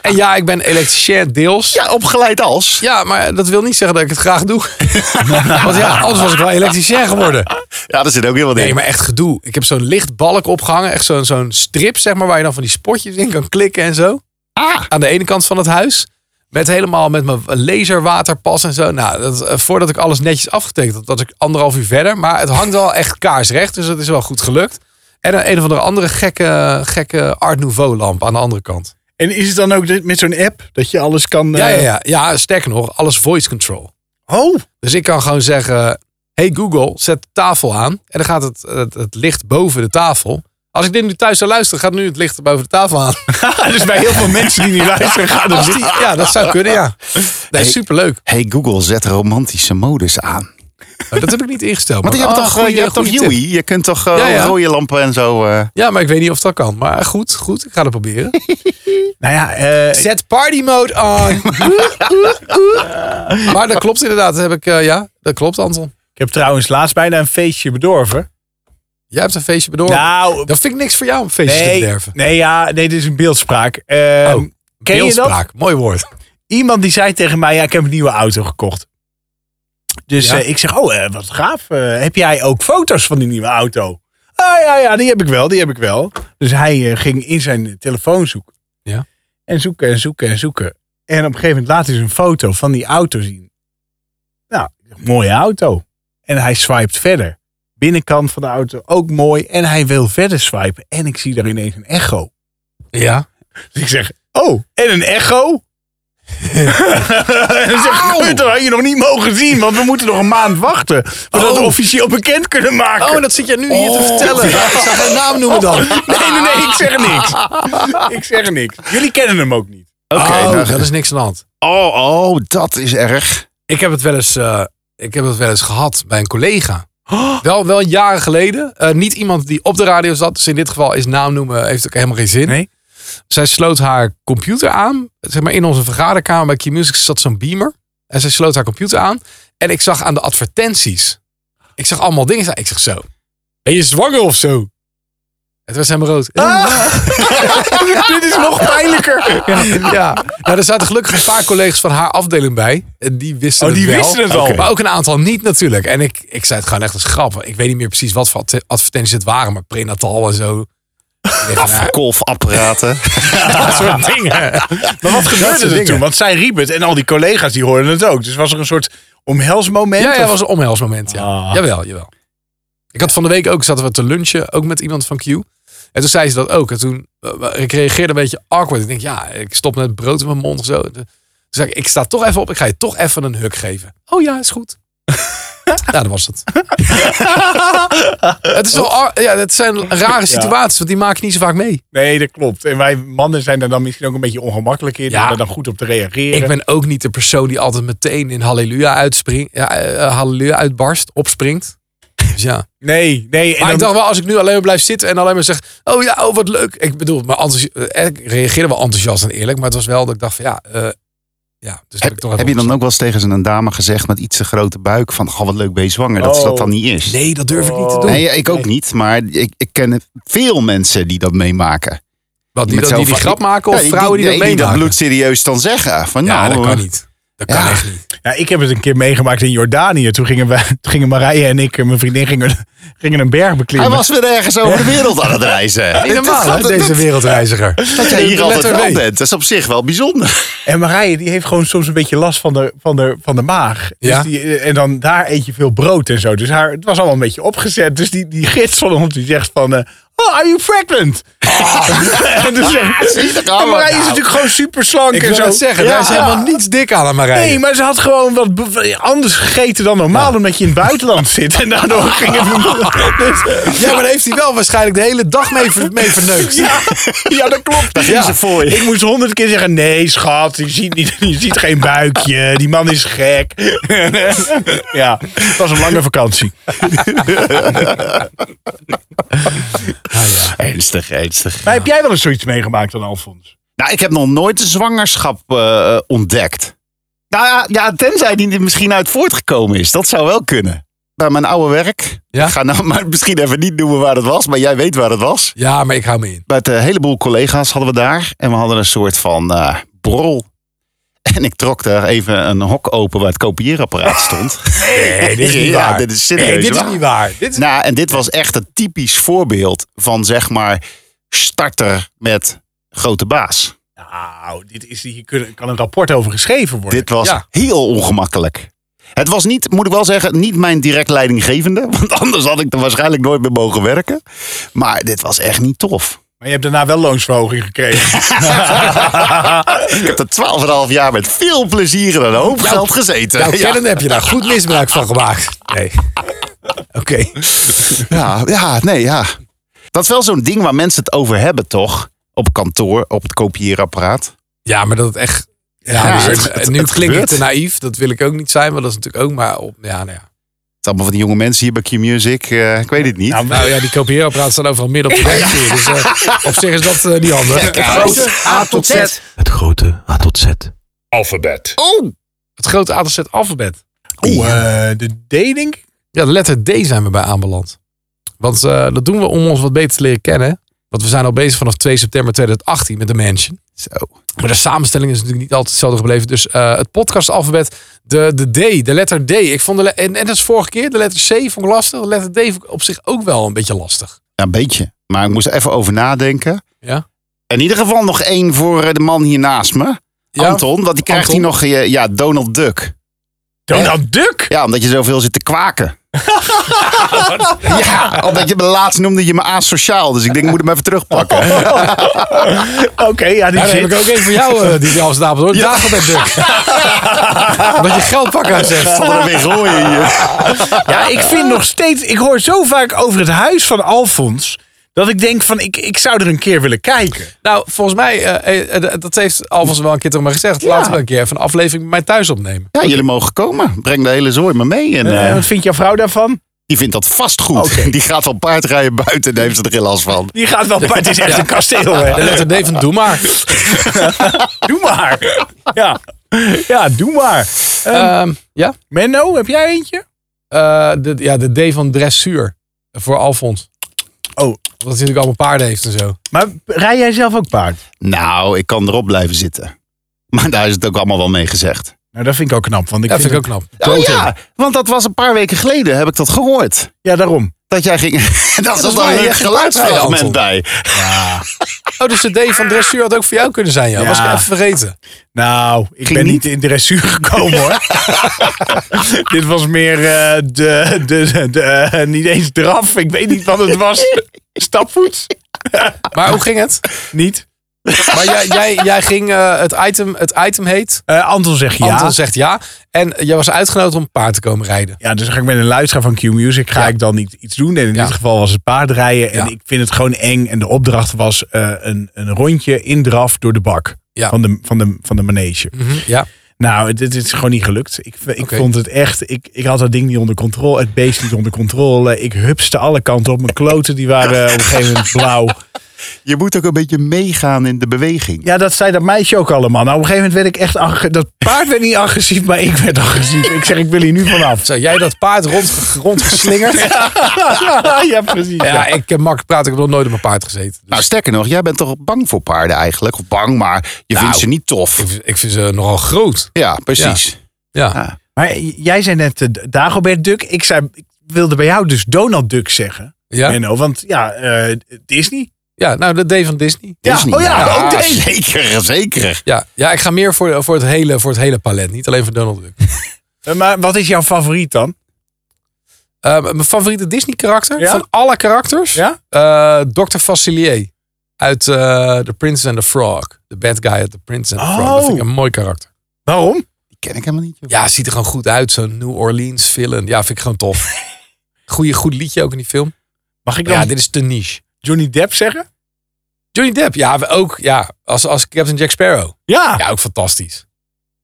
Speaker 2: En ja, ik ben elektricien deels.
Speaker 3: Ja, opgeleid als.
Speaker 2: Ja, maar dat wil niet zeggen dat ik het graag doe. Want ja, anders was ik wel elektricien geworden.
Speaker 3: Ja, daar zit ook heel wat
Speaker 2: Nee,
Speaker 3: in.
Speaker 2: maar echt gedoe. Ik heb zo'n lichtbalk opgehangen. Echt zo'n zo'n strip, zeg maar, waar je dan van die spotjes in kan klikken en zo. Aan de ene kant van het huis. Met helemaal met mijn laserwaterpas en zo. Nou, dat, eh, voordat ik alles netjes afgetekend had, dat ik anderhalf uur verder. Maar het hangt wel echt kaarsrecht, dus dat is wel goed gelukt. En een, een of andere andere gekke, gekke Art Nouveau lamp aan de andere kant.
Speaker 4: En is het dan ook dit- met zo'n app dat je alles kan...
Speaker 2: Ja,
Speaker 4: eh,
Speaker 2: ja, ja. ja sterker nog, alles voice control.
Speaker 4: Oh,
Speaker 2: Dus ik kan gewoon zeggen: Hey Google, zet de tafel aan. En dan gaat het, het, het licht boven de tafel. Als ik dit nu thuis zou luisteren, gaat nu het licht boven de tafel aan.
Speaker 4: dus bij heel veel mensen die niet luisteren gaan er
Speaker 2: Als die- ja, dat zou kunnen, ja. Nee, superleuk.
Speaker 3: Hey Google, zet romantische modus aan.
Speaker 2: Maar dat heb ik niet ingesteld.
Speaker 3: Want je
Speaker 2: maar-
Speaker 3: hebt
Speaker 2: Ah,
Speaker 3: toch,
Speaker 2: Oh,
Speaker 3: eh,
Speaker 2: goeie-
Speaker 3: je hebt toch
Speaker 2: goeie tip.
Speaker 3: Huey? Je kunt toch eh,
Speaker 2: Ja, ja.
Speaker 3: rode lampen en zo... eh,
Speaker 2: Ja, maar ik weet niet of dat kan. Maar goed, goed. Ik ga het proberen.
Speaker 4: Nou ja, eh,
Speaker 2: Zet party mode on. maar dat klopt inderdaad. Dat heb ik, eh, ja, dat klopt, Anton.
Speaker 4: ik heb trouwens laatst bijna een feestje bedorven.
Speaker 2: Jij hebt een feestje bedorven.
Speaker 4: Nou,
Speaker 2: Dat vind ik niks voor jou om feestjes te
Speaker 4: nee,
Speaker 2: bederven.
Speaker 4: nee, ja, nee, dit is een beeldspraak. Ehm,
Speaker 2: Oh,
Speaker 4: ken je dat?
Speaker 2: Beeldspraak, mooi woord.
Speaker 4: iemand die zei tegen mij, ja, ik heb een nieuwe auto gekocht. Dus
Speaker 2: Ja.
Speaker 4: eh, ik zeg, oh, eh, wat gaaf. Eh, heb jij ook foto's van die nieuwe auto? Ah ja, ja, die heb ik wel, die heb ik wel. Dus hij eh, ging in zijn telefoon zoeken.
Speaker 2: Ja.
Speaker 4: En zoeken en zoeken en zoeken. En op een gegeven moment laat hij zijn foto van die auto zien. Nou, ik zeg, mooie auto. En hij swipet verder. Binnenkant van de auto ook mooi. En hij wil verder swipen. En ik zie daar ineens een echo.
Speaker 2: Ja.
Speaker 4: Dus ik zeg, oh, en een echo? en dan zeg ik, dat had je nog niet mogen zien, want we moeten nog een maand wachten. Voordat we
Speaker 2: Oh.
Speaker 4: officieel bekend kunnen maken.
Speaker 2: Oh, dat zit jij nu hier te vertellen. Ik zou geen naam noemen dan.
Speaker 4: Nee, nee, nee, ik zeg niks. ik zeg niks. Jullie kennen hem ook niet.
Speaker 3: Oké,
Speaker 2: oh,
Speaker 3: nou,
Speaker 2: dat is niks aan de hand.
Speaker 3: oh, oh, dat is erg.
Speaker 2: Ik heb het wel eens, eh, ik heb het wel eens gehad bij een collega. Wel, wel jaren geleden. Eh, niet iemand die op de radio zat. Dus in dit geval is naam noemen heeft ook helemaal geen zin.
Speaker 4: Nee.
Speaker 2: Zij sloot haar computer aan. Zeg maar in onze vergaderkamer bij Q-Music zat zo'n beamer. En zij sloot haar computer aan. En ik zag aan de advertenties. Ik zag allemaal dingen staan. Ik zeg zo. Ben je zwanger of zo? Het was helemaal rood.
Speaker 4: Dit is nog pijnlijker.
Speaker 2: Ja, nou, er zaten gelukkig een paar collega's van haar afdeling bij. En Die wisten
Speaker 4: Oh, die
Speaker 2: het wel.
Speaker 4: wisten het al.
Speaker 2: Oké. Maar ook een aantal niet natuurlijk. En ik, ik zei het gewoon echt als grap. Ik weet niet meer precies wat voor adver- advertenties het waren. Maar prenatal en zo. Ik dacht, nou,
Speaker 3: Kolfapparaten.
Speaker 4: Dat soort dingen. Maar wat gebeurde er
Speaker 2: Ah. dingen.
Speaker 4: toen? Want zij riep het en al die collega's die hoorden het ook. Dus was er een soort omhelsmoment?
Speaker 2: Ja, ja,
Speaker 4: of-
Speaker 2: dat was een omhelsmoment. Ja.
Speaker 4: Ah.
Speaker 2: Jawel, jawel. Ik had van de week ook, zaten we te lunchen, ook met iemand van Q. En toen zei ze dat ook. En toen, eh, ik reageerde een beetje awkward. Ik denk, ja, ik stop net brood in mijn mond of zo. eh, Toen zei ik, ik sta toch even op, ik ga je toch even een huk geven. Oh ja, is goed. ja, dat was het. het, is wel, ar- ja, het zijn rare situaties, want die maak je niet zo vaak mee.
Speaker 4: Nee, dat klopt. En wij mannen zijn daar dan misschien ook een beetje ongemakkelijk in.
Speaker 2: Ja.
Speaker 4: Om daar dan goed op te reageren.
Speaker 2: Ik ben ook niet de persoon die altijd meteen in halleluja, uitspringt, ja, eh, halleluja uitbarst, opspringt. Dus ja.
Speaker 4: Nee, nee. En
Speaker 2: Maar
Speaker 4: dan-
Speaker 2: ik dacht wel, als ik nu alleen maar blijf zitten en alleen maar zeg, oh ja, oh wat leuk. Ik bedoel, maar enthousi- eh, ik reageerde wel enthousiast en eerlijk, maar het was wel dat ik dacht van ja, eh, ja. Dus heb, ik toch
Speaker 3: Heb je
Speaker 2: even
Speaker 3: dan ook wel eens tegen een dame gezegd met iets te grote buik van, goh, wat leuk ben je zwanger, dat ze dat dan niet is?
Speaker 2: opgeschreven. Oh, Nee, dat durf ik niet te doen.
Speaker 3: Oh. Nee, ik ook niet, maar ik, ik ken veel mensen die dat meemaken.
Speaker 2: Wat, die,
Speaker 3: Met
Speaker 2: dat- die,
Speaker 3: zo'n
Speaker 2: die
Speaker 3: va-
Speaker 2: grap maken of
Speaker 3: Ja,
Speaker 2: vrouwen die,
Speaker 3: nee,
Speaker 2: dat
Speaker 3: dat
Speaker 2: meemaken?
Speaker 3: bloedserieus dan zeggen. Van,
Speaker 2: ja,
Speaker 3: nou,
Speaker 2: dat kan niet. Dat kan
Speaker 3: Ja.
Speaker 2: echt niet.
Speaker 4: Ja, ik heb het een keer meegemaakt in Jordanië. Toen gingen, we, toen gingen Marije en ik, eh, mijn vriendin, gingen, gingen een berg
Speaker 3: Hij
Speaker 4: beklimmen.
Speaker 3: was weer ergens over de wereld aan het reizen.
Speaker 2: Niet normaal,
Speaker 3: dat,
Speaker 2: hè, deze wereldreiziger.
Speaker 3: dat jij hier
Speaker 2: Letter
Speaker 3: altijd wel
Speaker 2: W.
Speaker 3: bent, dat is op zich wel bijzonder.
Speaker 4: En Marije die heeft gewoon soms een beetje last van de, van de, van de maag.
Speaker 2: Ja.
Speaker 4: Dus die, eh, en dan daar eet je veel brood en zo. Dus haar, het was allemaal een beetje opgezet. Dus die, die gids van ons die zegt van... eh, oh, are you pregnant?
Speaker 2: Oh.
Speaker 4: en dus,
Speaker 3: zie, daar
Speaker 4: en
Speaker 3: gaan we.
Speaker 4: Marije is natuurlijk gewoon super slank
Speaker 2: Nou. Ik
Speaker 4: en
Speaker 2: wil
Speaker 4: zo.
Speaker 2: het zeggen, daar is
Speaker 4: Ja.
Speaker 2: helemaal niets dik aan aan Marije.
Speaker 4: Nee, maar ze had gewoon wat be- anders gegeten dan normaal. Omdat je in het buitenland zit. En daardoor ging het... Dus-
Speaker 2: Ja, maar daar heeft hij wel waarschijnlijk de hele dag mee, ver- mee verneukt.
Speaker 4: Ja, ja, dat klopt.
Speaker 3: Daar ging ze voor je.
Speaker 4: Ik moest honderd keer zeggen: nee, schat, je ziet, niet, je ziet geen buikje. Die man is gek. ja, het was een lange vakantie.
Speaker 3: Ernstig, ernstig.
Speaker 4: Maar heb jij wel eens zoiets meegemaakt dan, Alfons?
Speaker 3: Nou, ik heb nog nooit een zwangerschap eh, eh, ontdekt. Nou ja, ja, tenzij die er misschien uit voortgekomen is. Dat zou wel kunnen. Bij mijn oude werk.
Speaker 2: Ja?
Speaker 3: Ik ga nou maar misschien even niet noemen waar het was, maar jij weet waar het was.
Speaker 2: Ja, maar ik hou me in.
Speaker 3: Met een heleboel collega's hadden we daar. En we hadden een soort van eh borrel. En ik trok daar even een hok open waar het kopieerapparaat stond.
Speaker 2: Nee, dit is niet
Speaker 3: Ja,
Speaker 2: waar.
Speaker 3: dit is serieus
Speaker 2: nee, dit is
Speaker 3: waar.
Speaker 2: niet waar. Dit is...
Speaker 3: Nou, en dit was echt een typisch voorbeeld van zeg maar starter met grote baas.
Speaker 4: Nou, dit is, hier kun- kan een rapport over geschreven worden.
Speaker 3: Dit was
Speaker 2: Ja.
Speaker 3: heel ongemakkelijk. Het was niet, moet ik wel zeggen, niet mijn direct leidinggevende. Want anders had ik er waarschijnlijk nooit meer mogen werken. Maar dit was echt niet tof.
Speaker 4: Maar je hebt daarna wel loonsverhoging gekregen.
Speaker 3: Ik heb er 12,5 jaar met veel plezier en een hoop geld gezeten.
Speaker 2: Nou,
Speaker 3: ja.
Speaker 2: kennende heb je daar goed misbruik van gemaakt. Nee. Oké.
Speaker 3: Ja, ja, nee, ja. Dat is wel zo'n ding waar mensen het over hebben, toch? Op kantoor, op het kopieerapparaat.
Speaker 2: Ja, maar dat het echt... Ja,
Speaker 3: Ja,
Speaker 2: dus
Speaker 3: het-
Speaker 2: het-
Speaker 3: het-
Speaker 2: nu
Speaker 3: het
Speaker 2: klink ik
Speaker 3: gebeurt.
Speaker 2: te naïef. Dat wil ik ook niet zijn, maar dat is natuurlijk ook maar... Op, ja, nou, ja.
Speaker 3: Het is allemaal van die jonge mensen hier bij Q-Music. eh, ik weet het niet.
Speaker 4: Nou,
Speaker 2: nou ja, die kopieerapparaten staan overal midden op de werkvloer. Dus eh, op zich is dat eh, niet handig.
Speaker 1: Groot A tot Z.
Speaker 5: Het grote A tot Z.
Speaker 4: Alfabet.
Speaker 3: oh,
Speaker 2: Het grote A tot Z alfabet.
Speaker 4: Oeh, eh, de D denk ik.
Speaker 2: Ja, de letter D zijn we bij aanbeland. Want eh, dat doen we om ons wat beter te leren kennen. Want we zijn al bezig vanaf 2 september 2018 met de Mansion.
Speaker 3: zo.
Speaker 2: Maar de samenstelling is natuurlijk niet altijd hetzelfde gebleven. Dus eh, het podcastalfabet, de, de D, de letter D. Ik vond de le- en, en dat is vorige keer, de letter C vond ik lastig. De letter D vond ik op zich ook wel een beetje lastig.
Speaker 3: Ja, een beetje. Maar ik moest er even over nadenken.
Speaker 2: Ja.
Speaker 3: In ieder geval nog één voor eh, de man hier naast me.
Speaker 2: Ja.
Speaker 3: Anton, want die krijgt
Speaker 2: Anton.
Speaker 3: hier nog eh, ja, Donald Duck.
Speaker 4: Donald Duck.
Speaker 3: Ja, omdat je zoveel zit te kwaken. ja, omdat je me laatst noemde je me asociaal. Dus ik denk, ik moet hem even terugpakken.
Speaker 4: Oké, ja, die
Speaker 2: Ja, dan
Speaker 4: zit.
Speaker 2: heb ik ook een voor jou, eh, die Amsterdam hoor. Ja. Dagelijks Duk. Omdat je geld pakken zegt.
Speaker 3: Zal er weer gooien hier.
Speaker 4: Ja, ik vind nog steeds. Ik hoor zo vaak over het huis van Alfons. Dat ik denk van ik, ik zou er een keer willen kijken.
Speaker 2: Nou, volgens mij, eh, eh, dat heeft Alvast wel een keer tegen mij gezegd. Laten we een keer even een aflevering bij mij thuis opnemen.
Speaker 3: Ja, jullie mogen komen. Breng de hele zooi maar mee. En,
Speaker 4: Eh,
Speaker 3: eh,
Speaker 4: wat vindt jouw vrouw daarvan?
Speaker 3: die vindt dat vast goed. Die gaat van paardrijden buiten en daar heeft ze er geen last van.
Speaker 4: Die gaat wel. Maar het is echt een kasteel.
Speaker 2: De
Speaker 4: Hè?
Speaker 2: letter D van doe maar.
Speaker 4: Doe maar. Ja. ja, doe maar.
Speaker 2: Ehm, ja,
Speaker 4: Menno, heb jij eentje?
Speaker 2: Eh, de, ja, de D van dressuur voor Alfons.
Speaker 4: Oh.
Speaker 2: Omdat hij natuurlijk allemaal paarden heeft en zo.
Speaker 4: Maar rij jij zelf ook paard?
Speaker 3: Nou, ik kan erop blijven zitten. Maar daar is het ook allemaal wel mee gezegd.
Speaker 4: Nou, dat vind ik ook knap. Want ik
Speaker 2: Dat vind ik ook
Speaker 4: vind
Speaker 2: knap.
Speaker 3: Oh ja, want dat was een paar weken geleden, heb ik dat gehoord.
Speaker 4: het- Ja, daarom.
Speaker 3: Dat jij ging... dat is
Speaker 2: was
Speaker 3: wel
Speaker 2: waar, je
Speaker 3: een
Speaker 2: ging
Speaker 3: geluidsfragment
Speaker 2: paardrijden,
Speaker 3: bij.
Speaker 2: Oh, dus de D van dressuur had ook voor jou kunnen zijn, ja.
Speaker 4: Ja.
Speaker 2: Was ik even vergeten.
Speaker 4: Nou, ik
Speaker 3: Ging
Speaker 4: ben
Speaker 3: niet?
Speaker 4: niet in dressuur gekomen hoor. Dit was meer eh, de, de, de, eh, niet eens draf. Ik weet niet wat het was. Stapvoets?
Speaker 2: Maar hoe ging het?
Speaker 4: Niet.
Speaker 2: Maar jij, jij, jij ging, eh, het, item, het item heet,
Speaker 4: Eh, Anton zegt ja.
Speaker 2: Anton zegt ja. En jij was uitgenodigd om paard te komen rijden.
Speaker 4: Ja, dus dan ga ik met een luisteraar van Q-Music ga ik dan niet iets doen. En in
Speaker 2: Ja.
Speaker 4: dit geval was het paardrijden. En
Speaker 2: Ja.
Speaker 4: ik vind het gewoon eng. En de opdracht was eh, een, een rondje indraf door de bak
Speaker 2: Ja.
Speaker 4: van, de, van, de, van de manege.
Speaker 2: Ja.
Speaker 4: Nou, dit is gewoon niet gelukt. Ik, ik
Speaker 2: Oké.
Speaker 4: vond het echt... Ik, ik had dat ding niet onder controle. Het beest niet onder controle. Ik hupste alle kanten op. Mijn kloten die waren op een gegeven moment blauw.
Speaker 3: Je moet ook een beetje meegaan in de beweging.
Speaker 4: Ja, dat zei dat meisje ook allemaal. Nou, op een gegeven moment werd ik echt... agg- Dat paard werd niet agressief, maar ik werd agressief. Ik zeg, ik wil hier nu vanaf.
Speaker 2: Zo, jij dat paard rond, rondgeslingerd. Ja,
Speaker 4: ja, precies. ja.
Speaker 2: ik heb makkelijk praten. Ik heb nog nooit op mijn paard gezeten.
Speaker 3: Nou, sterker nog, jij bent toch bang voor paarden eigenlijk? Of bang, maar je vindt ze niet tof.
Speaker 2: Ik, vind- ik vind ze nogal groot.
Speaker 3: Ja, precies.
Speaker 2: Ja.
Speaker 4: Maar j- jij zei net eh, Dagobert Duck. Ik, zei, ik wilde bij jou dus Donald Duck zeggen.
Speaker 2: Ja.
Speaker 4: Menno, want ja, eh, Disney.
Speaker 2: ja, nou, de D van Disney.
Speaker 4: Ja,
Speaker 3: Disney.
Speaker 4: oh ja, ook deze.
Speaker 3: zeker, zeker.
Speaker 2: Ja, ja ik ga meer voor, voor, het hele, voor het hele palet. Niet alleen voor Donald Duck.
Speaker 4: Eh, Maar wat is jouw favoriet dan?
Speaker 2: Ehm, mijn favoriete Disney karakter?
Speaker 4: Ja?
Speaker 2: Van alle karakters?
Speaker 4: Ja?
Speaker 2: Eh, Dr. Facilier. Uit eh, The Prince and the Frog. De bad guy uit The Prince and the Frog. Dat vind
Speaker 4: Oh.
Speaker 2: ik een mooi karakter.
Speaker 4: Waarom?
Speaker 3: Die ken ik helemaal niet. joh.
Speaker 2: Ja, ziet er gewoon goed uit. Zo'n New Orleans villain. Ja, vind ik gewoon tof. Goeie, goed liedje ook in die film.
Speaker 4: Mag ik
Speaker 2: Maar
Speaker 4: dan
Speaker 2: ja, dit is te niche.
Speaker 4: Johnny Depp zeggen?
Speaker 2: Johnny Depp, ja, we ook. Ja, als, als Captain Jack Sparrow.
Speaker 4: Ja.
Speaker 2: Ja, ook fantastisch.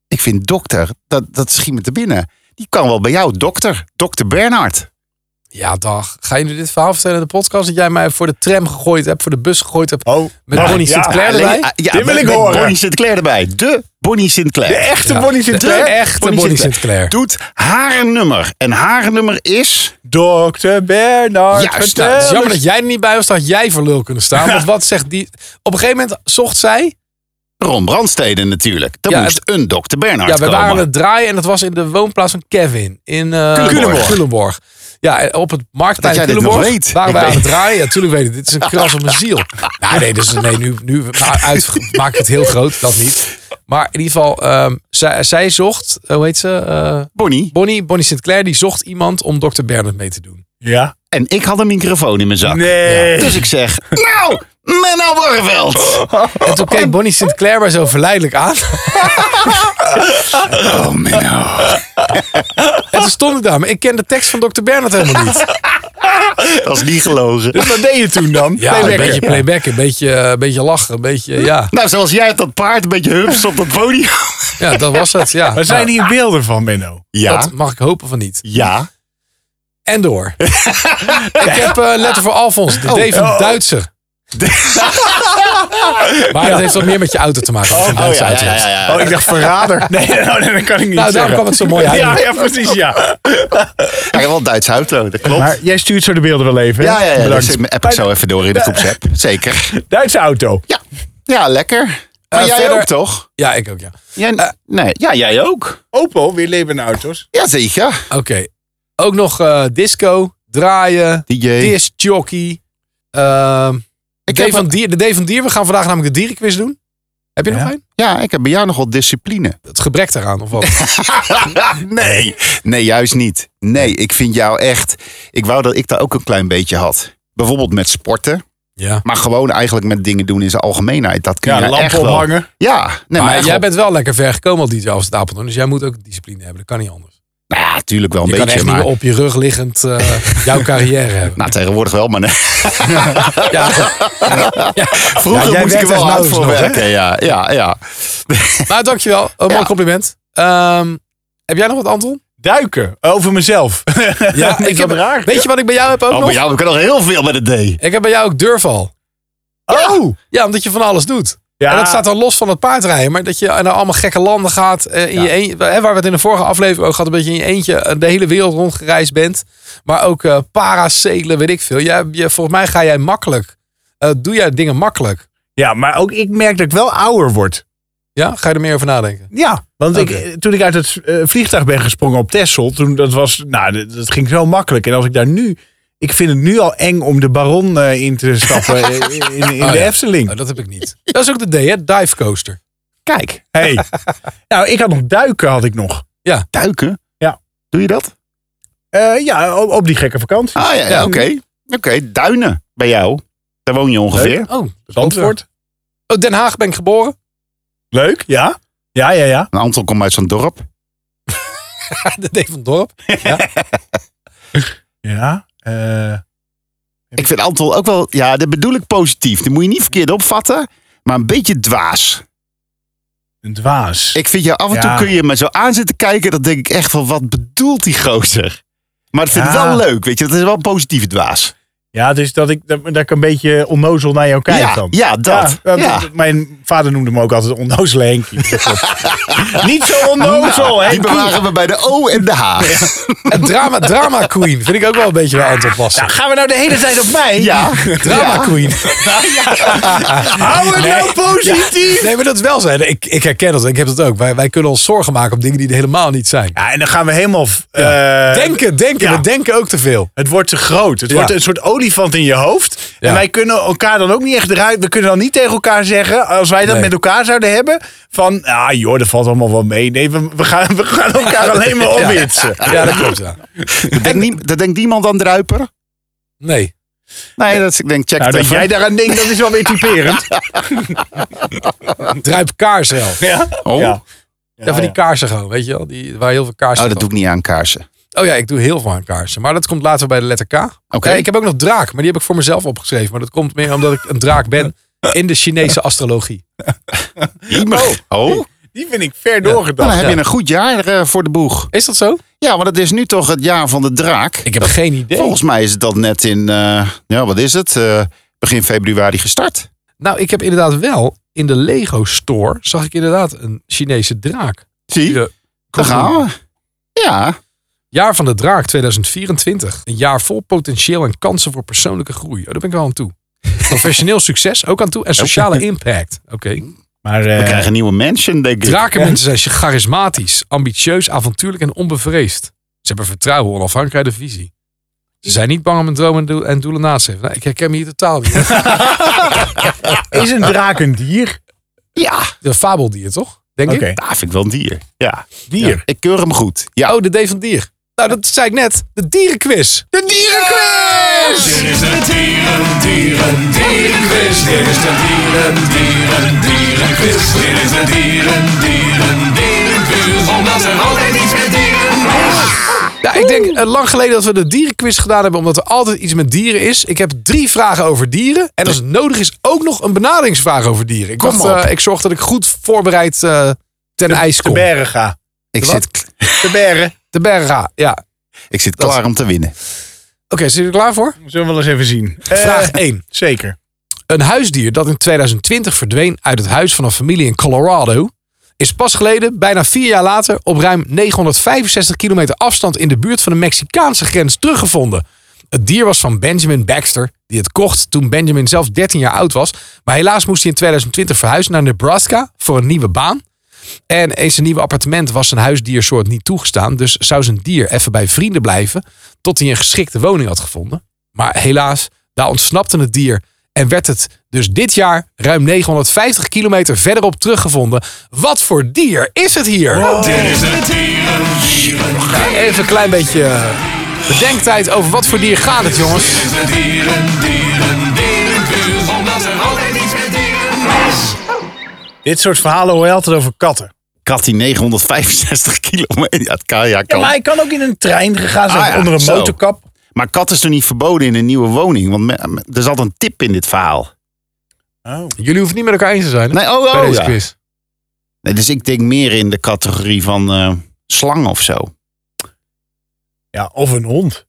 Speaker 3: Ik vind dokter, dat, dat schiet me te binnen. Die kan wel bij jou, dokter. Dokter Bernhard.
Speaker 2: Ja, dag. Ga je nu dit verhaal vertellen in de podcast? Dat jij mij voor de tram gegooid hebt, voor de bus gegooid hebt.
Speaker 4: Oh,
Speaker 2: Met
Speaker 4: maar-
Speaker 2: Bonnie
Speaker 4: ja,
Speaker 2: Sinclair
Speaker 4: alleen-
Speaker 2: erbij?
Speaker 3: Ah, ja,
Speaker 4: Dit wil
Speaker 3: met-
Speaker 4: ik
Speaker 3: met
Speaker 4: horen.
Speaker 3: Bonnie Sinclair erbij. De Bonnie Sinclair.
Speaker 4: De echte
Speaker 2: Ja,
Speaker 4: Bonnie
Speaker 2: de
Speaker 4: Sinclair.
Speaker 2: echte Bonnie, Sinclair.
Speaker 3: Doet haar nummer. En haar nummer is...
Speaker 4: Dokter Bernard.
Speaker 3: Juist,
Speaker 4: vertel
Speaker 2: Nou, het is jammer
Speaker 4: eens.
Speaker 2: dat jij er niet bij was, dan had jij voor lul kunnen staan. Want wat zegt die... Op een gegeven moment zocht zij...
Speaker 3: Ron Brandstede natuurlijk. Dat
Speaker 2: Ja,
Speaker 3: moest een dokter Bernhard
Speaker 2: Ja, we
Speaker 3: komen.
Speaker 2: waren aan het draaien en dat was in de woonplaats van Kevin. In eh
Speaker 3: Culemborg.
Speaker 2: Culemborg. Culemborg. Ja, en op het marktplein
Speaker 3: Dat jij dit
Speaker 2: Culemborg
Speaker 3: nog weet.
Speaker 2: waren
Speaker 3: Ik
Speaker 2: wij aan
Speaker 3: weet-
Speaker 2: het draaien. Ja, tuurlijk weet ik. Dit is een kras op mijn ziel. Nou, nee, dus, nee nu, nu maar uit, maak ik het heel groot. Dat niet. Maar in ieder geval, ehm, zij, zij zocht... Hoe heet ze? Eh,
Speaker 3: Bonnie.
Speaker 2: Bonnie, Bonnie Sinclair. Die zocht iemand om Dr. Bernard mee te doen.
Speaker 4: Ja.
Speaker 3: En ik had een microfoon in mijn zak.
Speaker 4: Nee.
Speaker 3: Dus ik zeg, nou, Menno Borreveld.
Speaker 2: En toen keek Bonnie Sinclair mij zo verleidelijk aan.
Speaker 3: Oh, Menno.
Speaker 2: En toen stond ik daar. Maar ik ken de tekst van Dr. Bernard helemaal niet.
Speaker 3: Dat is niet gelogen.
Speaker 4: Dus wat deed je toen dan?
Speaker 2: Ja,
Speaker 4: Playbacker.
Speaker 2: een beetje playback, een beetje, eh, een beetje lachen, een beetje, ja.
Speaker 3: Nou, zoals jij op dat paard een beetje hups op dat podium.
Speaker 2: Ja, dat was het, ja.
Speaker 4: Waar zijn hier beelden van, Menno?
Speaker 2: Ja. Dat mag ik hopen van niet.
Speaker 3: Ja.
Speaker 2: En door. ik heb eh, letter voor Alfons, de D van
Speaker 4: oh.
Speaker 2: Duitser. maar dat heeft wat meer met je auto te maken. Oh,
Speaker 3: Oh, ja, ja, ja, ja.
Speaker 4: Oh, ik dacht verrader. Nee, nou, nee, dat kan ik niet
Speaker 2: Nou, daarom
Speaker 4: zeggen.
Speaker 2: kwam het zo mooi uit.
Speaker 4: Ja, ja, precies, ja.
Speaker 3: Hij heeft wel een Duits auto, dat klopt.
Speaker 4: Maar jij stuurt zo de beelden wel even. hè?
Speaker 3: ja, ja, ja.
Speaker 4: Bedankt.
Speaker 3: Dat app ik zo even door in de groepsapp. Zeker.
Speaker 4: Duitse auto.
Speaker 3: Ja, ja lekker. Maar
Speaker 2: Eh,
Speaker 3: jij
Speaker 2: verder-
Speaker 3: ook, toch?
Speaker 2: Ja, ik ook, ja.
Speaker 3: Jij, nee, Eh. ja, jij ook.
Speaker 4: Opel, weer leven auto's.
Speaker 3: Jazeker.
Speaker 2: Oké. Ook nog eh, disco, draaien,
Speaker 3: DJ.
Speaker 2: discjockey. Ehm
Speaker 3: Ik
Speaker 2: D
Speaker 3: heb
Speaker 2: van
Speaker 3: wat-
Speaker 2: dier, de D van Dier, we gaan vandaag namelijk de dierenquiz doen. Heb je nog een?
Speaker 3: ja, ik heb bij jou nog wat discipline.
Speaker 2: Het gebrek daaraan, of wat?
Speaker 3: nee. Nee, juist niet. Nee, ik vind jou echt... Ik wou dat ik daar ook een klein beetje had. Bijvoorbeeld met sporten.
Speaker 2: ja.
Speaker 3: Maar gewoon eigenlijk met dingen doen in zijn algemeenheid. Dat kun
Speaker 4: Ja,
Speaker 3: je
Speaker 4: lampen
Speaker 3: echt wel.
Speaker 4: ophangen.
Speaker 3: Ja. Nee, maar,
Speaker 2: Maar
Speaker 3: echt
Speaker 2: jij
Speaker 3: wel-
Speaker 2: bent wel lekker ver gekomen al DJ Amsterdam Apeldoorn. Dus jij moet ook discipline hebben. Dat kan niet anders.
Speaker 3: Nou ja, natuurlijk wel een
Speaker 2: je kan
Speaker 3: beetje.
Speaker 2: echt
Speaker 3: Maar...
Speaker 2: niet meer op je rug liggend eh, jouw carrière hebben.
Speaker 3: Nou, tegenwoordig wel, maar nee.
Speaker 2: Ja,
Speaker 3: vroeger
Speaker 4: jij
Speaker 3: moest ik
Speaker 4: werkt
Speaker 3: er
Speaker 4: als
Speaker 3: wel hard
Speaker 4: nauwelijks
Speaker 3: voor
Speaker 4: nog,
Speaker 3: werken. Ja, ja, ja.
Speaker 2: maar Nou, dankjewel. Een mooi
Speaker 3: Ja.
Speaker 2: compliment. Ehm, heb jij nog wat, Anton?
Speaker 4: Duiken, eh, over mezelf.
Speaker 2: Ja,
Speaker 4: ik heb raar.
Speaker 2: Weet je wat ik bij jou heb ook
Speaker 3: Oh,
Speaker 2: nog?
Speaker 3: maar ja, we kunnen nog heel veel met het D.
Speaker 2: Ik heb bij jou ook durval.
Speaker 4: Oh!
Speaker 2: Ja, omdat je van alles doet.
Speaker 4: Ja.
Speaker 2: En dat staat dan los van het paardrijden. Maar dat je naar allemaal gekke landen gaat. eh, in je een, hè, waar we het in de vorige aflevering ook hadden. Een beetje in je eentje eh, de hele wereld rondgereisd bent. Maar ook eh paracelen, weet ik veel. Jij, je, volgens mij ga jij makkelijk. eh, doe jij dingen makkelijk.
Speaker 4: Ja, maar ook ik merk dat ik wel ouder word.
Speaker 2: Ja? Ga je er meer over nadenken?
Speaker 4: Ja, want
Speaker 2: Oké.
Speaker 4: ik, eh, toen ik uit het eh, vliegtuig ben gesprongen op Texel, toen dat was, nou, dat, dat ging zo makkelijk. En als ik daar nu, ik vind het nu al eng om de baron eh, in te stappen eh, in, in
Speaker 2: Oh,
Speaker 4: de
Speaker 2: ja.
Speaker 4: Efteling.
Speaker 2: Nou, dat heb ik niet. Dat is ook de D, hè? Dive coaster.
Speaker 4: Kijk, hey. nou, ik had nog duiken, had ik nog.
Speaker 3: Duiken?
Speaker 4: Ja.
Speaker 3: Doe je dat?
Speaker 4: Eh, ja, op, op die gekke vakantie.
Speaker 3: Ah ja, ja, oké. Oké, duinen bij jou. Daar woon je ongeveer.
Speaker 2: Oh,
Speaker 4: Zandvoort.
Speaker 2: Oh, Den Haag ben ik geboren.
Speaker 4: Leuk, ja. Ja, ja, ja.
Speaker 3: Een aantal komt uit zo'n dorp.
Speaker 2: de D van het dorp.
Speaker 4: Ja. eh,
Speaker 3: Ik vind Anton ook wel, ja, dat bedoel ik positief. Dat moet je niet verkeerd opvatten, maar een beetje dwaas.
Speaker 4: een dwaas.
Speaker 3: Ik vind jou af en toe
Speaker 4: Ja.
Speaker 3: kun je me zo aan zitten kijken, dan denk ik echt van, wat bedoelt die gozer? Maar ik vind het
Speaker 4: Ja.
Speaker 3: wel leuk, weet je, dat is wel een positieve dwaas.
Speaker 4: Ja, dus dat ik, dat, dat ik een beetje onnozel naar jou kijk
Speaker 3: Ja,
Speaker 4: dan.
Speaker 3: ja, dat.
Speaker 4: want
Speaker 3: Ja.
Speaker 4: Mijn vader noemde me ook altijd onnozele Henkie. Niet zo onnozel, hè?
Speaker 3: Nou, Die bewaren we bij de O en de H.
Speaker 2: En drama, drama queen vind ik ook wel een beetje bij Anton passen.
Speaker 4: Nou, gaan we nou de hele tijd op mij?
Speaker 3: Ja.
Speaker 2: drama queen.
Speaker 4: Hou het nou positief!
Speaker 2: Nee, maar dat is wel zijn. Ik, ik herken dat. Ik heb dat ook. Wij, wij kunnen ons zorgen maken op dingen die er helemaal niet zijn.
Speaker 4: Ja, en dan gaan we helemaal... f- eh,
Speaker 2: denken, denken.
Speaker 4: ja.
Speaker 2: We denken ook te veel.
Speaker 4: Het wordt te groot. Het
Speaker 2: Ja.
Speaker 4: wordt een soort olifant in je hoofd. En
Speaker 2: Ja.
Speaker 4: wij kunnen elkaar dan ook niet echt eruit. We kunnen dan niet tegen elkaar zeggen, als wij dat
Speaker 2: Nee.
Speaker 4: met elkaar zouden hebben, van, ah joh, dat valt allemaal wel mee. Nee, we, we, gaan, we gaan elkaar alleen maar
Speaker 2: Ja.
Speaker 4: opwitsen.
Speaker 2: Ja, dat klopt. Ja.
Speaker 3: Dat denkt, nie- dat denkt niemand aan Druiper.
Speaker 2: Nee.
Speaker 3: Nee, dat is, ik denk, check
Speaker 4: Nou,
Speaker 3: het
Speaker 4: dat
Speaker 3: even.
Speaker 4: jij daaraan denkt, dat is wel weer typerend.
Speaker 2: Druip kaarsen. Ja,
Speaker 4: Ja.
Speaker 3: Oh.
Speaker 4: Ja.
Speaker 2: van die kaarsen gewoon. Weet je wel? Die, waar heel veel kaarsen
Speaker 3: oh, dat doe
Speaker 2: komen.
Speaker 3: ik niet aan kaarsen.
Speaker 2: oh ja, ik doe heel veel aan kaarsen. Maar dat komt later bij de letter K.
Speaker 3: Oké.
Speaker 2: Ja, ik heb ook nog draak. Maar die heb ik voor mezelf opgeschreven. Maar dat komt meer omdat ik een draak ben. In de Chinese astrologie.
Speaker 3: Jemig. Oh.
Speaker 4: Die vind ik ver
Speaker 3: Nou,
Speaker 4: doorgedacht.
Speaker 3: dan heb je een goed jaar eh, voor de boeg.
Speaker 2: Is dat zo?
Speaker 3: Ja, want het is nu toch het jaar van de draak.
Speaker 2: Ik heb geen idee.
Speaker 3: Volgens mij is het dat net in, eh, ja, wat is het? Eh, begin februari gestart.
Speaker 2: Nou, ik heb inderdaad wel in de Lego Store zag ik inderdaad een Chinese draak.
Speaker 3: Zie,
Speaker 2: Ja,
Speaker 3: daar gaan we. Ja,
Speaker 2: Jaar van de draak 2024. Een jaar vol potentieel en kansen voor persoonlijke groei. Oh, daar ben ik wel aan toe. Professioneel succes ook aan toe. En sociale impact. Oké.
Speaker 4: Maar
Speaker 3: we
Speaker 4: eh,
Speaker 3: krijgen een nieuwe mansion, denk ik.
Speaker 2: Drakenmensen zijn charismatisch, ambitieus, avontuurlijk en onbevreesd. Ze hebben vertrouwen, onafhankelijkheid en visie. Ze zijn niet bang om hun dromen en doel- en doelen na te streven. Nou, ik herken me hier totaal niet.
Speaker 4: is een draak een dier?
Speaker 3: Ja,
Speaker 2: De fabeldier, toch? Denk
Speaker 4: Oké,
Speaker 2: ik?
Speaker 3: daar vind ik wel een dier. Ja,
Speaker 4: dier.
Speaker 3: ik keur hem goed. Ja,
Speaker 2: Oh, de D van dier. Nou, dat zei ik net. De dierenquiz.
Speaker 3: de dierenquiz!
Speaker 5: Dit is de dieren, dieren, dierenquiz. Dit is de dieren, dieren, dierenquiz. Dit is de dieren, dieren, dierenquiz. Omdat er altijd iets met dieren is.
Speaker 2: Ja, ik denk eh, lang geleden dat we de dierenquiz gedaan hebben, omdat er altijd iets met dieren is. Ik heb drie vragen over dieren. En als het nodig is, ook nog een benaderingsvraag over dieren. Ik,
Speaker 3: Kom
Speaker 2: dacht,
Speaker 3: op.
Speaker 2: eh, ik zorg dat ik goed voorbereid eh, ten ijs
Speaker 4: Te
Speaker 2: kom.
Speaker 4: bergen ga.
Speaker 3: Ik
Speaker 2: Wat?
Speaker 3: zit,
Speaker 4: Te bergen.
Speaker 2: De berga, ja. Oké,
Speaker 3: ik zit klaar om te winnen.
Speaker 2: zijn jullie er klaar voor?
Speaker 4: Zullen we wel eens even zien. Eh,
Speaker 2: Vraag 1.
Speaker 4: Zeker.
Speaker 2: Een huisdier dat in 2020 verdween uit het huis van een familie in Colorado... is pas geleden, bijna vier jaar later, op ruim 965 kilometer afstand... in de buurt van de Mexicaanse grens teruggevonden. Het dier was van Benjamin Baxter, die het kocht toen Benjamin zelf 13 jaar oud was. Maar helaas moest hij in 2020 verhuizen naar Nebraska voor een nieuwe baan. En in zijn nieuwe appartement was zijn huisdiersoort niet toegestaan. Dus zou zijn dier even bij vrienden blijven tot hij een geschikte woning had gevonden. Maar helaas, daar ontsnapte het dier. En werd het dus dit jaar ruim 950 kilometer verderop teruggevonden. Wat voor dier is het hier?
Speaker 5: Dit is de dieren, dieren,
Speaker 2: Even een klein beetje eh, bedenktijd over wat voor dier gaat het, jongens.
Speaker 5: dit is de dieren, dieren, dierenquiz. Omdat er altijd iets met dieren is.
Speaker 4: Dit soort verhalen hoor je altijd over katten.
Speaker 3: Kat die 965 kilometer. Ja, het kan, ja,
Speaker 4: Ja,
Speaker 3: kan.
Speaker 4: maar hij kan ook in een trein gegaan zijn,
Speaker 3: Ah, ja,
Speaker 4: onder een
Speaker 3: zo.
Speaker 4: motorkap.
Speaker 3: Maar kat is toch niet verboden in een nieuwe woning? Want me- me- er zat een tip in dit verhaal.
Speaker 2: Jullie hoeven het niet met elkaar eens te zijn hè?
Speaker 3: Nee, oh,
Speaker 2: bij
Speaker 3: oh
Speaker 2: deze
Speaker 3: ja.
Speaker 2: quiz.
Speaker 3: Nee, dus ik denk meer in de categorie van eh, slang of zo.
Speaker 4: Ja, of een hond.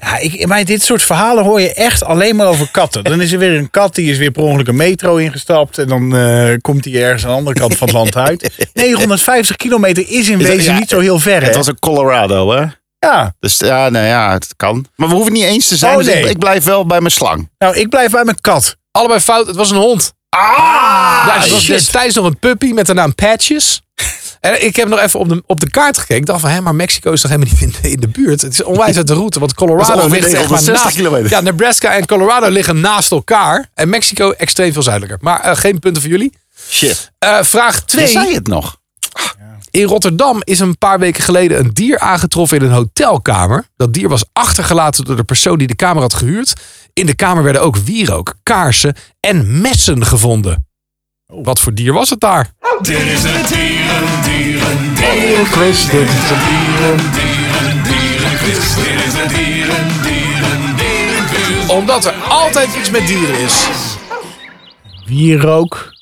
Speaker 4: Ja, ik, maar dit soort verhalen hoor je echt alleen maar over katten. Dan is er weer een kat, die is weer per ongeluk een metro ingestapt. En dan eh, komt hij ergens aan de andere kant van het land uit. 950 kilometer is in
Speaker 3: Is dat-
Speaker 4: wezen
Speaker 3: ja,
Speaker 4: niet zo heel ver, hè?
Speaker 3: Het was ook Colorado, hè?
Speaker 4: Ja,
Speaker 3: Dus ja, nou ja, het kan. Maar we hoeven het niet eens te zijn.
Speaker 4: Oh,
Speaker 3: dus
Speaker 4: nee.
Speaker 3: ik, ik blijf wel bij mijn slang.
Speaker 4: nou, ik blijf bij mijn kat.
Speaker 2: Allebei fout, het was een hond.
Speaker 4: Ah!
Speaker 3: Ah,
Speaker 2: Ja, ze was destijds nog een puppy met de naam Patches. En ik heb nog even op de, op de kaart gekeken. Ik dacht van, hé, maar Mexico is toch helemaal niet in de, in de buurt? Het is onwijs uit de route, want
Speaker 3: Dat is
Speaker 2: Colorado
Speaker 3: ongeveer
Speaker 2: ligt echt maar
Speaker 3: 960
Speaker 2: naast...
Speaker 3: kilometer.
Speaker 2: Ja, Nebraska en Colorado liggen naast elkaar. En Mexico extreem veel zuidelijker. Maar eh, geen punten voor jullie.
Speaker 3: Shit.
Speaker 2: Eh, vraag
Speaker 3: Je
Speaker 2: 2.
Speaker 3: zei het nog.
Speaker 2: In Rotterdam is een paar weken geleden een dier aangetroffen in een hotelkamer. Dat dier was achtergelaten door de persoon die de kamer had gehuurd. In de kamer werden ook wierook, kaarsen en messen gevonden.
Speaker 3: Oh.
Speaker 2: Wat voor dier was het daar?
Speaker 5: Dit is de dieren, dieren, dierenquiz. Dit is de dieren, dieren, dierenquiz. Dit is de dieren, dieren, dierenquiz.
Speaker 2: Omdat er altijd iets met dieren is.
Speaker 4: Wierook.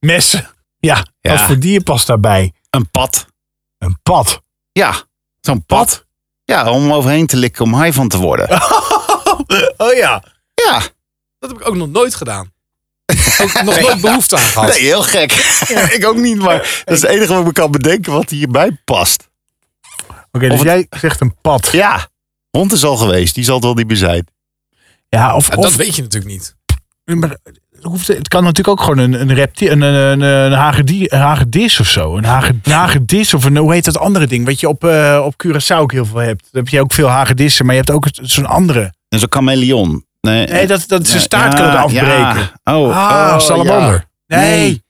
Speaker 4: Messen. Ja,
Speaker 3: Ja.
Speaker 4: wat voor dier past daarbij?
Speaker 3: Een pad.
Speaker 4: Een pad.
Speaker 3: Ja, zo'n pad. Ja, om overheen te likken om high van te worden.
Speaker 4: Oh ja.
Speaker 3: Ja,
Speaker 2: Dat heb ik ook nog nooit gedaan. Ook nog nooit behoefte aan gehad.
Speaker 3: nee, heel gek. ik ook niet, maar dat is het enige wat ik kan bedenken wat hierbij past.
Speaker 4: Oké, dus
Speaker 3: Of het-
Speaker 4: jij zegt een pad.
Speaker 3: Ja, hond is al geweest. Die zal het wel niet meer zijn.
Speaker 4: Ja, of,
Speaker 2: En
Speaker 4: of
Speaker 2: dat weet je natuurlijk niet.
Speaker 4: Nee, maar het hoeft- het kan natuurlijk ook gewoon een, een reptiel, een, een, een, een hagedie- een hagedis of zo. Een hage- een hagedis of een, hoe heet dat andere ding? Wat je op, eh, op Curaçao ook heel veel hebt. Dan heb je ook veel hagedissen, maar je hebt ook het- zo'n andere.
Speaker 3: En zo'n chameleon. Nee,
Speaker 4: Nee, dat, dat zijn
Speaker 3: Ja,
Speaker 4: staart kan het afbreken.
Speaker 3: ja. Oh,
Speaker 4: Ah,
Speaker 3: oh,
Speaker 2: Salamander.
Speaker 3: ja.
Speaker 4: Nee.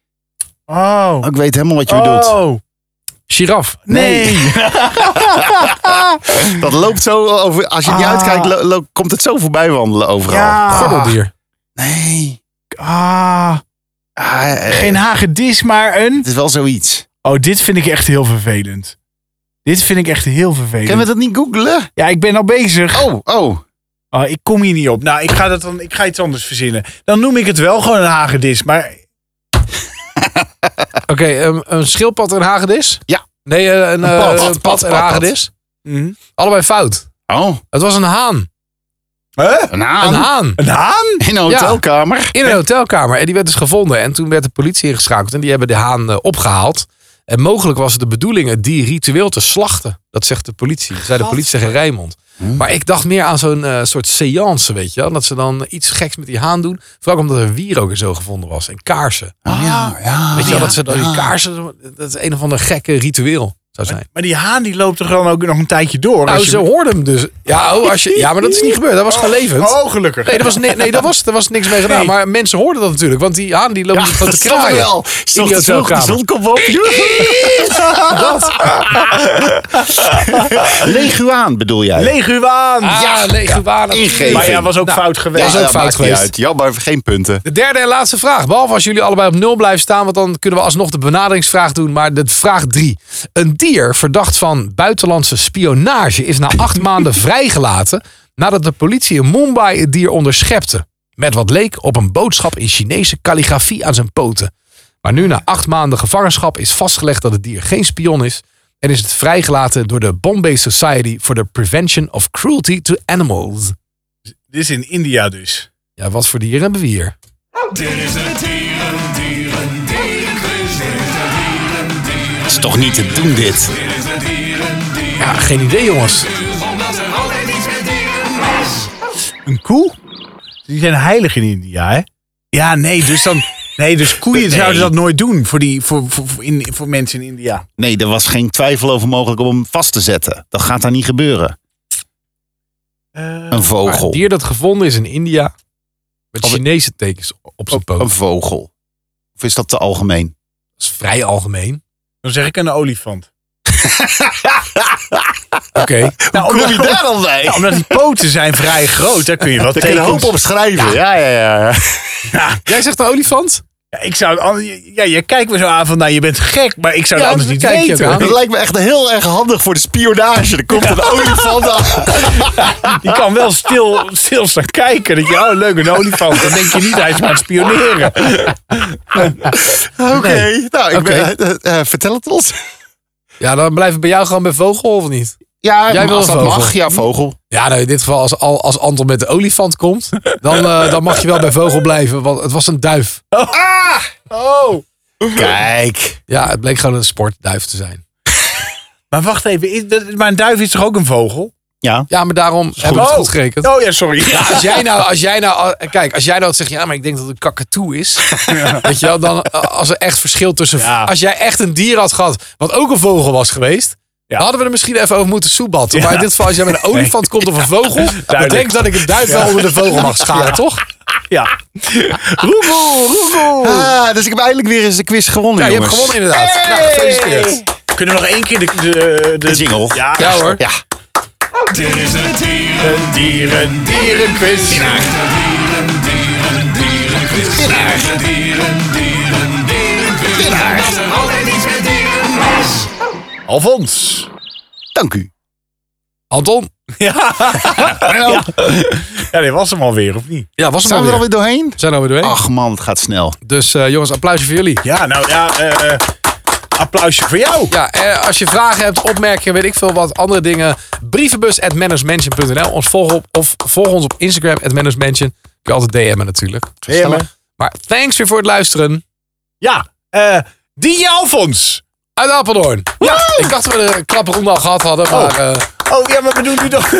Speaker 4: Oh.
Speaker 3: Oh, ik weet helemaal wat je bedoelt.
Speaker 4: Oh.
Speaker 2: Giraf.
Speaker 4: Nee.
Speaker 3: Dat loopt zo over. Als je niet
Speaker 4: Ah.
Speaker 3: uitkijkt, lo- lo- komt het zo voorbij wandelen overal.
Speaker 4: Ja.
Speaker 2: Gordeldier.
Speaker 3: Nee.
Speaker 4: Ah,
Speaker 3: Ah, eh,
Speaker 4: geen hagedis, maar een...
Speaker 3: Het is wel zoiets.
Speaker 4: Oh, dit vind ik echt heel vervelend. Dit vind ik echt heel vervelend.
Speaker 3: Kunnen we dat niet googlen?
Speaker 4: Ja, ik ben al bezig.
Speaker 3: Oh, oh.
Speaker 4: Ah, ik kom hier niet op. Nou, ik ga, dat dan, ik ga iets anders verzinnen. Dan noem ik het wel gewoon een hagedis. Maar
Speaker 2: Oké, een, een schildpad en hagedis?
Speaker 3: Ja.
Speaker 2: Nee, eh, een, eh,
Speaker 3: pad.
Speaker 2: een pad,
Speaker 3: Pad, pad,
Speaker 2: en
Speaker 3: pad.
Speaker 2: hagedis.
Speaker 4: Hm?
Speaker 2: Allebei fout.
Speaker 3: Oh,
Speaker 2: Het was een haan.
Speaker 3: een haan.
Speaker 2: Een haan.
Speaker 4: een haan?
Speaker 3: In een hotelkamer.
Speaker 2: In een hotelkamer. En die werd dus gevonden. En toen werd de politie ingeschakeld. En die hebben de haan eh, opgehaald. En mogelijk was het de bedoeling het dier ritueel te slachten. Dat zegt de politie. zei de politie tegen Rijnmond. Maar ik dacht meer aan zo'n eh, soort seance, weet je wel. Dat ze dan iets geks met die haan doen. Vooral omdat er wierook en zo gevonden was. En kaarsen.
Speaker 3: Oh, ja, ja.
Speaker 2: weet je wel, dat ze dan die
Speaker 3: Ja.
Speaker 2: kaarsen... Dat is een of ander gekke ritueel zou zijn.
Speaker 4: Maar die haan die loopt er gewoon ook nog een tijdje door.
Speaker 2: Nou,
Speaker 4: Oh, als je-
Speaker 2: ze hoorden hem dus. Ja, oh, als je, ja, maar dat is niet gebeurd. Dat was gewoon levend.
Speaker 4: Oh, gelukkig.
Speaker 2: Nee, daar was, ni- nee, dat was, daar was niks mee gedaan.
Speaker 4: Nee.
Speaker 2: Maar mensen hoorden dat natuurlijk. Want die haan die loopt niet van
Speaker 3: Dat
Speaker 2: te
Speaker 3: snap ik
Speaker 2: kraaien.
Speaker 3: wel. Zocht het vroeg, de
Speaker 2: hotelkamer.
Speaker 3: zon komt op. Leguaan bedoel jij?
Speaker 4: Leguaan!
Speaker 2: Ah, ja, leguaan.
Speaker 3: ingeven.
Speaker 4: maar ja, was ook
Speaker 2: Nou,
Speaker 4: fout geweest.
Speaker 2: was ook
Speaker 3: dat
Speaker 2: fout
Speaker 3: maakt niet
Speaker 2: geweest.
Speaker 3: uit. Jammer, geen punten.
Speaker 2: De derde en laatste vraag. Behalve als jullie allebei op nul blijven staan, want dan kunnen we alsnog de benaderingsvraag doen. Maar de vraag drie. Een dier verdacht van buitenlandse spionage is na acht maanden vrijgelaten nadat de politie in Mumbai het dier onderschepte. Met wat leek op een boodschap in Chinese kalligrafie aan zijn poten. Maar nu na acht maanden gevangenschap is vastgelegd dat het dier geen spion is. En is het vrijgelaten door de Bombay Society for the Prevention of Cruelty to Animals.
Speaker 4: Dit is in India dus.
Speaker 2: Ja, wat voor dieren hebben we hier?
Speaker 5: Dit is de dieren, dieren, dierenquiz. Dit is de dieren, dieren,
Speaker 3: Het is toch niet te doen dit?
Speaker 5: dit is de dieren, dieren.
Speaker 2: Ja, geen idee jongens.
Speaker 5: Omdat er altijd iets met dieren is.
Speaker 4: Een koe? Die zijn heilig in India, hè? Ja, nee, dus dan... Nee, dus koeien zouden dat nooit doen voor, die, voor, voor, voor, in, voor mensen in India.
Speaker 3: Nee, er was geen twijfel over mogelijk om hem vast te zetten. Dat gaat daar niet gebeuren. een
Speaker 2: Maar
Speaker 3: vogel.
Speaker 2: het dier dat gevonden is in India. Met
Speaker 3: Of-
Speaker 2: Chinese tekens op zijn poot.
Speaker 3: Een vogel. Of is dat te algemeen?
Speaker 2: Dat is vrij algemeen.
Speaker 4: Dan zeg ik een olifant.
Speaker 2: Oké.
Speaker 4: Nou,
Speaker 3: Hoe kom je
Speaker 4: omdat-
Speaker 3: daar dan bij?
Speaker 4: Ja, omdat die poten zijn vrij groot, daar kun je wel
Speaker 3: Daar kun je een hoop
Speaker 4: tekens...
Speaker 3: op schrijven. Ja, ja, ja.
Speaker 2: Jij zegt een olifant?
Speaker 4: Ja, ik zou... het an- Ja, je kijkt me zo aan van, nou, je bent gek, maar ik zou het
Speaker 2: Ja,
Speaker 4: anders niet
Speaker 2: dan kijk je
Speaker 4: weten.
Speaker 2: ook
Speaker 3: Dat lijkt me echt heel erg handig voor de spionage. Er komt een olifant aan.
Speaker 4: Je kan wel stil, stil staan kijken. Dat je, oh leuk, een olifant. Dan denk je niet, hij is maar aan het spioneren.
Speaker 3: Oké, nou, ik ben- eh, eh, vertel het ons.
Speaker 2: Ja, dan blijven we bij jou gewoon bij vogel of niet?
Speaker 3: Ja,
Speaker 2: Jij wil
Speaker 3: als
Speaker 2: een
Speaker 3: dat
Speaker 2: vogel.
Speaker 3: mag. Ja, vogel.
Speaker 2: Ja, nou, in dit geval als, al- als Anton met de olifant komt, dan, eh, dan mag je wel bij vogel blijven. Want het was een duif.
Speaker 4: Oh.
Speaker 3: Kijk.
Speaker 2: Ja, het bleek gewoon een sportduif te zijn.
Speaker 4: Maar wacht even, is dat- maar een duif is toch ook een vogel?
Speaker 3: Ja.
Speaker 2: Ja, maar daarom hebben we het goed gerekend.
Speaker 4: Oh ja, sorry.
Speaker 2: Ja, als jij nou, als jij nou, eh, kijk, als jij nou zegt, ja, maar ik denk dat het een kakatoe is. Weet je wel, dan eh, als er echt verschil tussen,
Speaker 4: Ja.
Speaker 2: als jij echt een dier had gehad, wat ook een vogel was geweest.
Speaker 4: Ja.
Speaker 2: dan hadden we er misschien even over moeten soebatten. Maar in dit geval, als jij met een olifant komt of een vogel, dan
Speaker 4: Duidelijk.
Speaker 2: denk ik dat ik een duif wel onder de vogel mag scharen, toch?
Speaker 4: Ja. Roegel, roegel.
Speaker 3: Ah, dus ik heb eindelijk weer eens de quiz gewonnen,
Speaker 2: Ja, je hebt
Speaker 3: jongens.
Speaker 2: gewonnen inderdaad. Nou, gefeliciteerd.
Speaker 4: Kunnen we nog één keer de... De, de,
Speaker 3: De jingle.
Speaker 4: Ja.
Speaker 2: Ja hoor.
Speaker 3: Ja.
Speaker 5: Dit is de dieren, dieren, dierenquiz. Winnaar. Dieren, dieren, dierenquiz. Winnaar. Dieren, dieren, dierenquiz. Winnaar. Dat er altijd iets met dieren is.
Speaker 4: Alfons.
Speaker 3: Dank u.
Speaker 2: Anton,
Speaker 4: Ja. ja, dit was hem alweer, of niet?
Speaker 2: ja, was hem
Speaker 3: Zijn we er
Speaker 2: alweer. Ah.
Speaker 3: alweer doorheen?
Speaker 2: Zijn we er alweer doorheen.
Speaker 3: Ach man, het gaat snel.
Speaker 2: Dus eh, jongens, applausje voor jullie.
Speaker 4: Ja, nou ja. eh, eh, Applausje voor jou.
Speaker 2: Ja, en als je vragen hebt, opmerkingen, weet ik veel wat, andere dingen. Brievenbus.mannersmansion.nl Ons volg op, of volg ons op Instagram at mannersmansion. Kun je altijd DM'en natuurlijk.
Speaker 4: Gezellig.
Speaker 2: Maar thanks weer voor het luisteren.
Speaker 4: Ja, eh DJ Alfons.
Speaker 2: Uit Apeldoorn. Ja, ik dacht dat we de klapronde al gehad hadden, maar... eh
Speaker 4: Oh ja, maar we doen nu nog...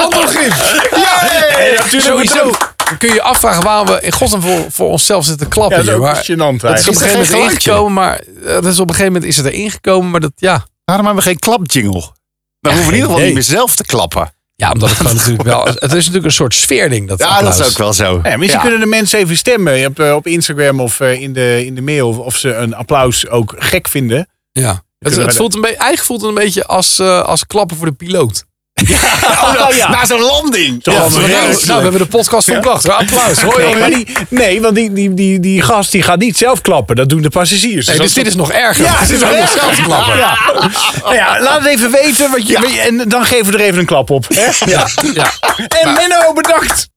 Speaker 2: Anton Grims.
Speaker 4: ja, hey, Nou, natuurlijk
Speaker 2: Sowieso
Speaker 4: bedankt.
Speaker 2: kun je afvragen waarom we in godsnaam voor, voor onszelf zitten klappen.
Speaker 4: Ja, dat is
Speaker 2: hier,
Speaker 4: ook
Speaker 2: maar
Speaker 4: gênant
Speaker 2: dat is op een
Speaker 4: eigenlijk.
Speaker 2: gegeven
Speaker 3: geen
Speaker 2: moment
Speaker 3: geluidje?
Speaker 2: ingekomen, maar eh, dat is op een gegeven moment is het er ingekomen, maar dat ja.
Speaker 3: Waarom hebben we geen klapjingle? Dan hoeven we in ieder geval niet meer zelf te klappen.
Speaker 2: Ja, omdat het gewoon natuurlijk wel. Het is natuurlijk een soort sfeerding. Dat
Speaker 3: Ja, dat
Speaker 2: applaus.
Speaker 3: is ook wel zo.
Speaker 4: Ja, misschien
Speaker 3: Ja.
Speaker 4: kunnen de mensen even stemmen op, eh, op Instagram of eh, in, de, in de mail. Of, of ze een applaus ook gek vinden.
Speaker 2: Ja. Het, het voelt een beetje, eigenlijk voelt het een beetje als, eh, als klappen voor de piloot.
Speaker 4: Oh ja.
Speaker 3: Na zo'n landing.
Speaker 4: Ja,
Speaker 2: nou, nou, we hebben de podcast volbracht. Applaus. Hoi,
Speaker 4: Nee,
Speaker 2: hoi.
Speaker 4: maar die, nee, want die, die, die, die gast die gaat niet zelf klappen. Dat doen de passagiers.
Speaker 2: Nee,
Speaker 4: Dus
Speaker 2: dus
Speaker 4: als-
Speaker 2: dit is nog erger.
Speaker 4: Ja,
Speaker 2: dit is
Speaker 4: dit
Speaker 2: ook
Speaker 4: is
Speaker 2: nog
Speaker 4: erger.
Speaker 2: zelf te klappen.
Speaker 4: Ja. Nou ja, laat het even weten. Wat je, En dan geven we er even een klap op. Hè?
Speaker 2: Ja.
Speaker 4: En Menno, bedankt.